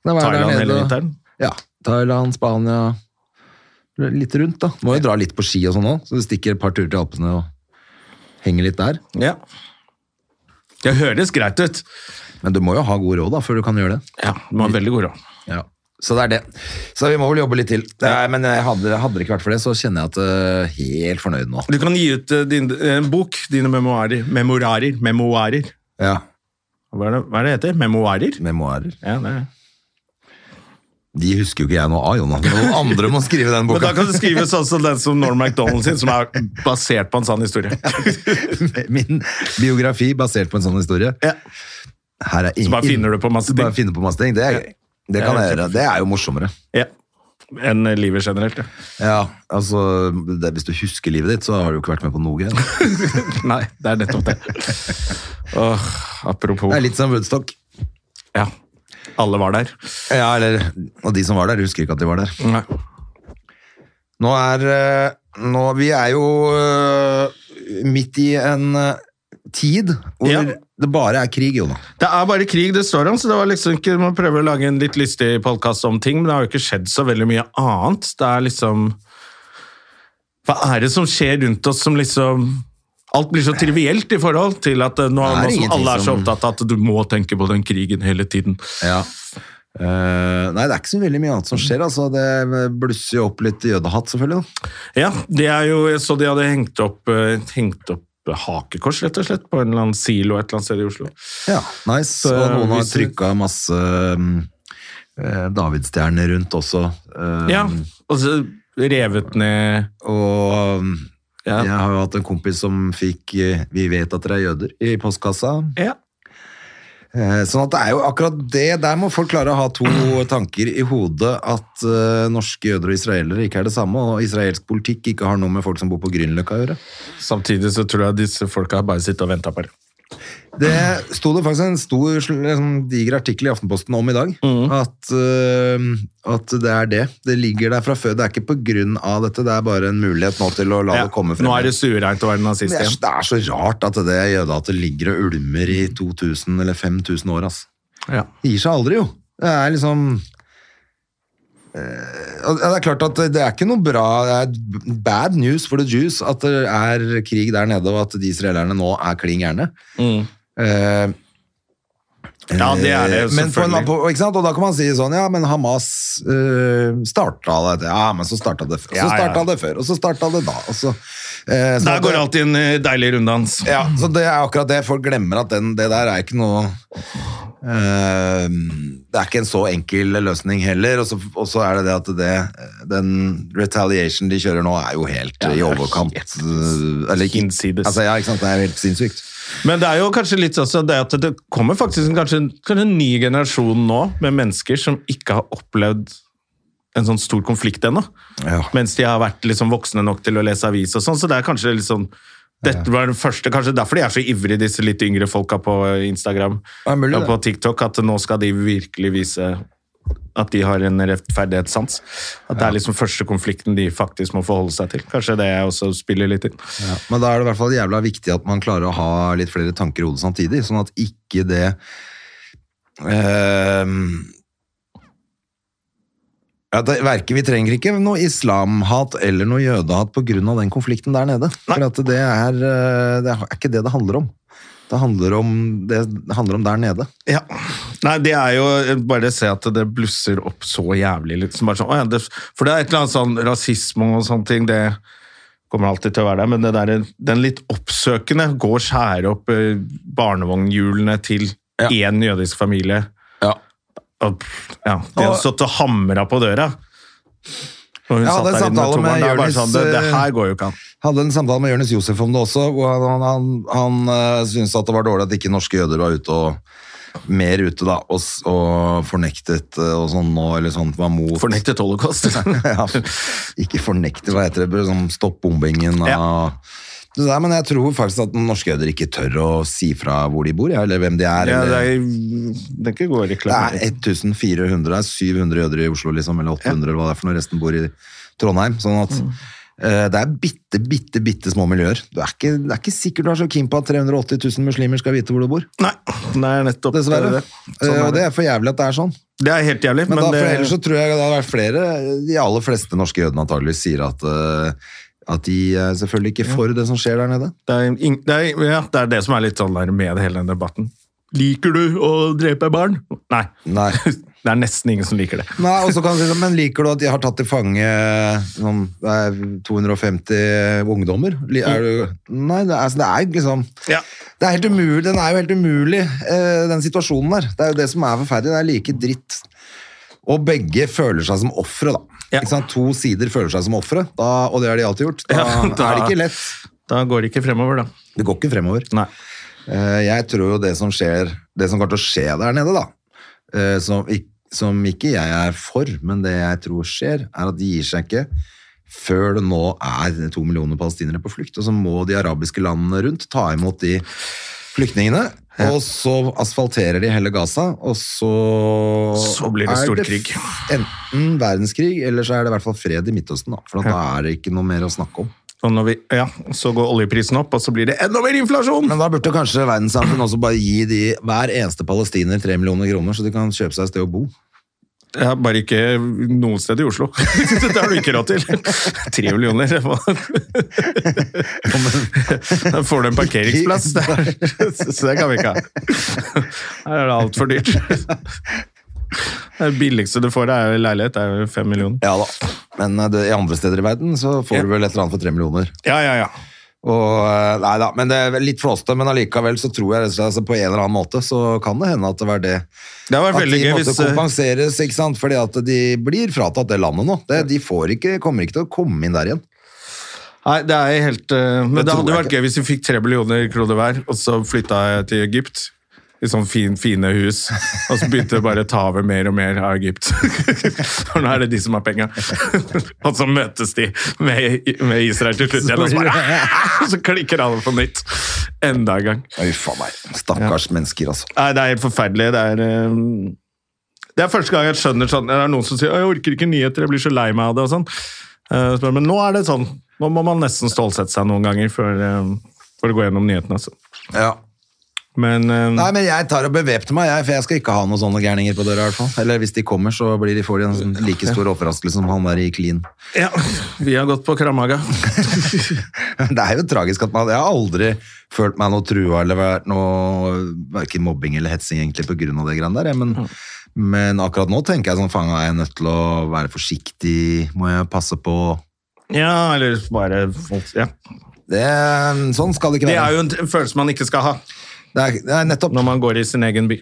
Da var jeg der
Thailand
nede
hele
og-
vinteren.
Ja. Thailand, Spania. Litt rundt, da. Må jo dra litt på ski og sånn òg, så du stikker et par turer til Alpene og henger litt der.
Ja. Det høres greit ut.
Men du må jo ha god råd da, før du kan gjøre det.
Ja, du har veldig god råd.
Ja, så det er det. Så vi må vel jobbe litt til. Nei, men jeg hadde, hadde det ikke vært for det, så kjenner jeg at eh, helt fornøyd nå.
Du kan gi ut eh, din, en bok, dine memoarer. Memorarer. Memoarer.
Ja,
Hva er det, hva er det heter? Memoarer?
memoarer.
Ja, det er det.
De husker jo ikke jeg noe av, Jonas. Det er Noen andre må skrive den
Men
boka.
da kan du skrive sånn som den som Norm MacDonald sin, som er basert på en sann historie.
Min biografi basert på en sånn historie.
Ja.
Her er ingen,
Så bare finner du på masse ting.
Bare finner på masse ting. Det, er, det kan jeg gjøre. Det er jo morsommere.
Ja. Enn eh, livet generelt, ja.
Ja, altså, det, hvis du husker livet ditt, så har du jo ikke vært med på noe. greier.
Nei, det er nettopp det. Åh, apropos.
Det er litt som Woodstock.
Ja. Alle var der.
Ja, eller, og de som var der, husker ikke at de var der.
Nei.
Nå er eh, nå, Vi er jo eh, midt i en eh, tid hvor
Ja.
det bare er krig, Jonah.
Det er bare krig det står om, så det var liksom ikke, man prøver å lage en litt lystig podkast om ting, men det har jo ikke skjedd så veldig mye annet. Det er liksom Hva er det som skjer rundt oss som liksom Alt blir så trivielt i forhold til at eh, nå,
Det er
nå som
ingenting
alle er så
som-
opptatt av at du må tenke på den krigen hele tiden.
Ja. Eh, nei, det er ikke så veldig mye annet som skjer. Altså. Det blusser jo opp litt jødehatt, selvfølgelig. da.
Ja, det er jo Jeg så de hadde hengt opp, eh, hengt opp hakekors, rett og slett, på en eller annen silo et eller annet sted i Oslo.
Ja, nice.
Så
og noen har
hvis du-
trykka masse mm, eh, davidsstjerner rundt også. eh,
Ja, og så revet ned
Og mm,
Ja.
jeg har jo hatt en kompis som fikk eh, 'Vi vet at dere er jøder' i postkassa.
Ja.
Eh, Sånn at det er jo akkurat det, der må folk klare å ha to tanker i hodet, at eh, norske jøder og israelere ikke er det samme, og israelsk politikk ikke har noe med folk som bor på Grünerløkka å gjøre.
Samtidig så tror jeg disse folka bare sitter og venter på det.
Det sto det faktisk en stor, sl- liksom, diger artikkel i Aftenposten om i dag,
Mm.
at, eh, at det er det. Det ligger der fra før, det er ikke på grunn av dette, det er bare en mulighet nå til å la det komme frem.
Nå er det suvereint å være nazist
det er,
igjen.
så- det er så rart at det jødehatet ligger og ulmer i 2000 eller 5000 år, altså.
Ja.
Det gir seg aldri, jo. Det er liksom Eh, og Det er klart at det er ikke noe bra Det er bad news for the Jews at det er krig der nede, og at de israelerne nå er klin gærne.
Mm.
Eh,
ja, det er det,
men på en,
selvfølgelig.
på, ikke sant? Og da kan man si sånn, ja, men Hamas uh, starta dette. Ja, men så starta det før, og
Ja,
så
ja.
starta det før, og så starta det da. Og så, eh, så
Der
at
går
det-
alltid en eh, deilig runddans.
ja, så det er akkurat det. Folk glemmer at den, det der er ikke noe eh, Det er ikke en så enkel løsning heller. Og så, og så er det det at det, den retaliation de kjører nå, er jo helt eh, i overkant. eh, Eller ikke
hinsides.
Altså, ja, ikke sant? Det er jo helt sinnssykt.
Men det er jo kanskje litt også det at det kommer faktisk en, kanskje, kanskje en ny generasjon nå med mennesker som ikke har opplevd en sånn stor konflikt ennå.
Ja.
Mens de har vært liksom voksne nok til å lese avis og sånn, så det er kanskje litt sånn dette var den første, Kanskje derfor de er så ivrige, disse litt yngre folka på Instagram
Ja, mulig
og
det.
på TikTok, at nå skal de virkelig vise At de har en rettferdighetssans. At det er liksom første konflikten de faktisk må forholde seg til. Kanskje det også spiller litt inn.
Ja, men da er det i hvert fall jævla viktig at man klarer å ha litt flere tanker i hodet samtidig, sånn at ikke det ehm, ja, det verker, Vi trenger ikke noe islamhat eller noe jødehat pga. den konflikten der nede. For at det, er, eh, det er ikke det det handler om. Det handler om, det handler om der nede.
Ja. Nei, det er jo bare å se at det blusser opp så jævlig. Liksom. Bare sånn, «Å ja, det, for det er et eller annet sånn rasisme og sånne ting, det kommer alltid til å være der, men det der, den litt oppsøkende går og skjærer opp eh, barnevognhjulene til
Ja.
én jødisk familie. Og, pff, ja, de har stått og hamra på døra. Og hun
Ja,
satt
det er
der inne med
samtale med
tommelen. Det er bare
Jonis,
sånn, det, det
eh,
her går jo ikke an.
hadde en samtale med Jonis Josef om det også, hvor han, han, han, han eh, syntes at det var dårlig at ikke norske jøder var ute og mer ute da, og, s- og fornektet eh, og sånn nå, eller sånn, var mot.
Fornektet holocaust.
ja, ikke fornektet, hva heter det, bare sånn stopp bombingen av...
Ja.
Det der, men jeg tror faktisk at norske jøder ikke tør å si fra hvor de bor, ja, eller hvem de er.
Ja, det,
eller...
er, det er ikke god
Det
reklame.
er 1400, det er 700 jøder i Oslo, liksom, eller 800, eller hva det er for noe, resten bor i Trondheim. Sånn at
Mm.
eh, det er bitte, bitte, bitte små miljøer. Du er ikke, det er ikke sikkert du er så keen på at 380 000 muslimer skal vite hvor du bor,
Nei, det er nettopp
dessverre.
det. Sånn
Eh,
er
og
det.
det er for jævlig at det er sånn.
Det er helt jævlig,
Men,
men,
da, for
det,
ellers så tror jeg det hadde vært flere, de aller fleste norske jødene antageligvis sier at, eh, at de er selvfølgelig ikke for det som skjer der nede.
det, er, ing- det, er, ja, det er det som er litt sånn der med hele den debatten. Liker du å drepe barn? Nei.
Nei.
Det er nesten ingen som liker det.
Nei, og så kan du si sånn, men liker du at de har tatt til fange sånn, det er 250 ungdommer? Li- Er du, nei, det er, altså, det er jo liksom
Ja.
det er helt umulig, Den er jo helt umulig, eh, den situasjonen der. Det er jo det som er forferdelig. Det er like dritt. Og begge føler seg som ofre, da.
Ja.
Ikke sant? To sider føler seg som ofre, da- og det har de alltid gjort. Da,
Ja, da-
er det ikke lett.
Da går det ikke fremover, da.
Det går ikke fremover.
Nei.
Eh, Jeg tror jo det som skjer, det som kommer til å skje der nede, da, eh, som, ik- som ikke jeg er for, men det jeg tror skjer, er at de gir seg ikke før det nå er to millioner palestinere på flukt, og så må de arabiske landene rundt ta imot de flyktningene, og så asfalterer de hele Gaza, og så
Så blir det
er
stor
f-
krig.
Enten verdenskrig, eller så er det i hvert fall fred i Midtøsten, da, for at da er det ikke noe mer å snakke om.
Og når vi, ja, så går oljeprisen opp, og så blir det enda mer inflasjon!
Men da burde kanskje verdenssamfunnet også bare gi de, hver eneste palestiner 3 millioner kroner, så de kan kjøpe seg et sted å bo.
Ja, bare ikke noe sted i Oslo. det har du ikke råd til. Tre millioner. hva? Da får du en parkeringsplass der. Så det kan vi ikke ha. Her er det altfor dyrt. Det billigste du får, er jo leilighet. Det er jo fem millioner.
Ja da. Men eh, det, i andre steder i verden så får du vel et eller annet for 3 millioner.
Ja, ja, ja.
Og, eh, nei da, men det er vel litt flåste, men allikevel så tror jeg rett og slett altså, på en eller annen måte så kan det hende at det var det.
Det hadde
At
vært
de
veldig gøy
måtte
hvis eh,
kompenseres, ikke sant? Fordi at de blir fratatt det landet nå. Det, de får ikke, kommer ikke til å komme inn der igjen.
Nei, det er helt eh, Men
Det
det
tror
hadde
jeg
vært
ikke.
gøy hvis vi fikk tre millioner kroner hver, og så flytta jeg til Egypt. I sånn fin, fine hus. Og så begynte jeg bare å ta over mer og mer av Egypt. For nå er det de som har penga. Og så møtes de med, med Israel til slutt igjen, og så, bare, og så klikker alle på nytt. Enda en gang.
Uff a meg. Stakkars mennesker, altså.
Nei, det er helt forferdelig. Det er, ehm, det er første gang jeg skjønner sånn Det er noen som sier «Å, 'jeg orker ikke nyheter, jeg blir så lei meg av det' og sånn. Eh, så- Men nå er det sånn. Nå må man nesten stålsette seg noen ganger for, ehm, for å gå gjennom nyhetene. Altså.
Ja.
Men ehm,
Nei, men jeg tar og bevæpner meg, jeg, for jeg skal ikke ha noen sånne gærninger på døra i hvert fall. Eller hvis de kommer, så blir de, får de en sånn like stor overraskelse som han der i Clean.
ja, vi har gått på Kramaga.
Det er jo tragisk at man, jeg har aldri følt meg noe trua eller vært noe, hverken mobbing eller hetsing egentlig på grunn av det greiene der, jeg, men... Men akkurat nå tenker jeg sånn, faen, er jeg nødt til å være forsiktig, må jeg passe på.
Ja, eller bare ja.
Det, sånn skal det ikke
Det
være.
er jo en t- følelse man ikke skal ha
Det er, det er nettopp.
når man går i sin egen by.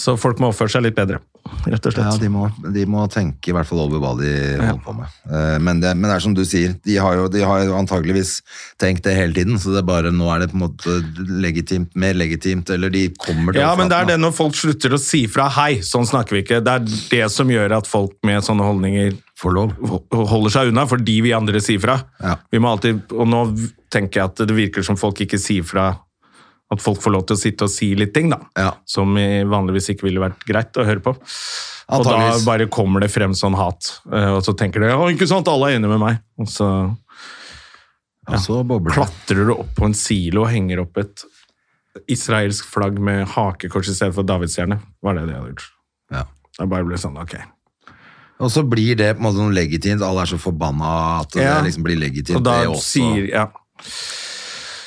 Så folk må oppføre seg litt bedre, rett og
Ja,
slett.
de må, de må tenke i hvert fall over hva de holder på med. Eh, Men det, men det er som du sier, de har jo de har jo antageligvis tenkt det hele tiden, så det er bare nå er det på en måte legitimt, mer legitimt, eller de kommer til
Ja, men det er
overflaten,
det når folk slutter å si fra 'hei', sånn snakker vi ikke. Det er det som gjør at folk med sånne holdninger
da. Får lov.
ho- holder seg unna, fordi vi andre sier fra.
Ja.
Vi må alltid, og nå v- tenker jeg at det virker som folk ikke sier fra at folk får lov til å sitte og si litt ting, da.
Ja.
Som i- vanligvis ikke ville vært greit å høre på. Og da
Antageligvis.
bare kommer det frem sånn hat, eh, og så tenker de å, ikke sant, alle er enige med meg. Og så
Og så bobler det.
klatrer du opp på en silo og henger opp et israelsk flagg med hakekors i stedet for davidsstjerne. Var det det jeg hadde gjort?
Ja.
Jeg bare ble sånn, ok.
Og så blir det på en måte sånn legitimt. Alle er så forbanna at det
Ja.
liksom blir legitimt.
Og da
det også.
sier ja.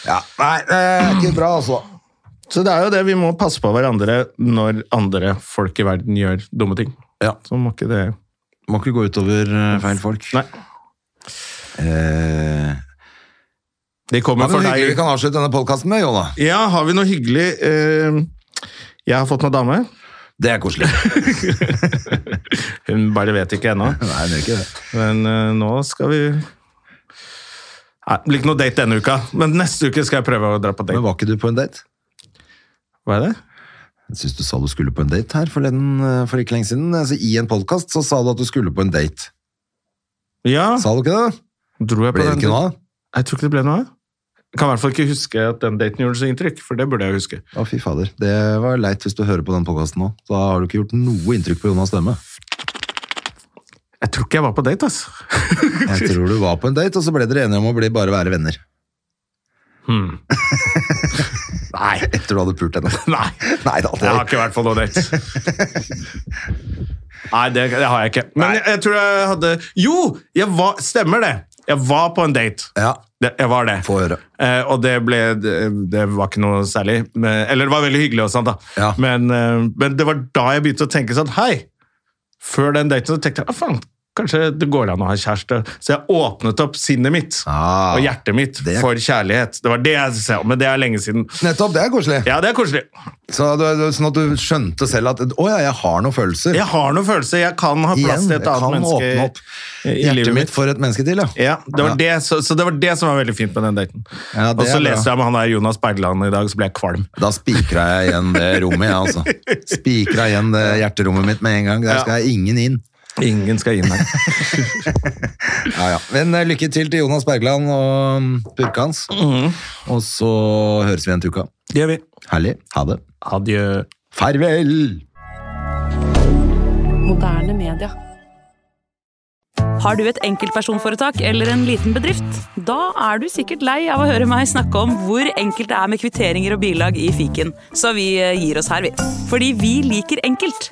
ja. Nei, det er ikke bra, altså.
Så det er jo det, vi må passe på hverandre når andre folk i verden gjør dumme ting.
Ja.
Så må ikke det
Må ikke gå utover eh, feil folk.
Nei.
Eh,
De kommer
har vi
for
noe hyggelig vi
deg.
kan avslutte denne podkasten med, Jonna?
Ja, har vi noe hyggelig? Eh, jeg har fått meg dame.
Det er koselig.
Hun bare vet ikke ennå.
Nei, det er ikke det.
Men eh, nå skal vi Nei, Det blir ikke noe date denne uka, men neste uke skal jeg prøve å dra på
Men
date.
var ikke du på en date?
Hva er det?
Jeg syns du sa du skulle på en date her forleden, eh, for ikke lenge siden. Altså, I en podkast så sa du at du skulle på en date.
Ja,
Sa du ikke det?
dro jeg på
Ble det
den
ikke noe av?
Jeg tror ikke det ble noe av. Jeg Kan i hvert fall ikke huske at den daten gjorde så inntrykk, for det burde jeg huske.
Å, fy fader. Det var leit hvis du hører på den podkasten nå. Da har du ikke gjort noe inntrykk på Jonas stemme.
Jeg tror ikke jeg var på date, altså.
Jeg tror du var på en date, og så ble dere enige om å bli bare være venner.
Nei.
Etter du hadde pult henne.
Nei.
Nei da,
Jeg har
det,
ikke vært på noe date. Nei, det, det har jeg ikke. Men jeg, jeg tror jeg hadde Jo! Jeg var, stemmer det. Jeg var på en date.
ja,
Det, jeg var det.
få høre.
Eh, og det ble det, det var ikke noe særlig. Men, eller det var veldig hyggelig og sånt, da.
Ja.
Men, eh, men det var da jeg begynte å tenke sånn Hei! Før den daten så tenkte jeg ah, faen, kanskje det går an å ha kjæreste. Så jeg åpnet opp sinnet mitt
Ah,
og hjertet mitt
det er-
for kjærlighet. Det var det jeg sa, men det er lenge siden.
Nettopp, det er koselig.
Ja, det er koselig.
Så du, du, sånn at du skjønte selv at å ja, jeg har noen følelser.
Jeg har noen følelser. Jeg kan ha plass
Igjen,
til
jeg
et annet
kan
menneske
åpne opp
i- i
hjertet
livet
mitt
mitt.
for et menneske til, ja.
Ja, det var Det, så, så det var det som var veldig fint med den daten.
Ja, det
og så
er bra.
leste jeg med han der Jonas Bergland i dag, så ble jeg kvalm.
Da spikra jeg igjen det rommet, jeg, altså. Spikra igjen det hjerterommet mitt med en gang. Der
Ja.
skal ingen inn.
Ingen skal inn her.
Ja, ja. Men eh, lykke til til Jonas Bergland og mm, purka hans. Og så høres vi igjen til uka.
Det gjør vi.
Herlig. Ha det.
Adjø.
Farvel!
Moderne media.
Har du et enkeltpersonforetak eller en liten bedrift? Da er du sikkert lei av å høre meg snakke om hvor enkelt det er med kvitteringer og bilag i fiken, så vi eh, gir oss her, vi. Fordi vi liker enkelt.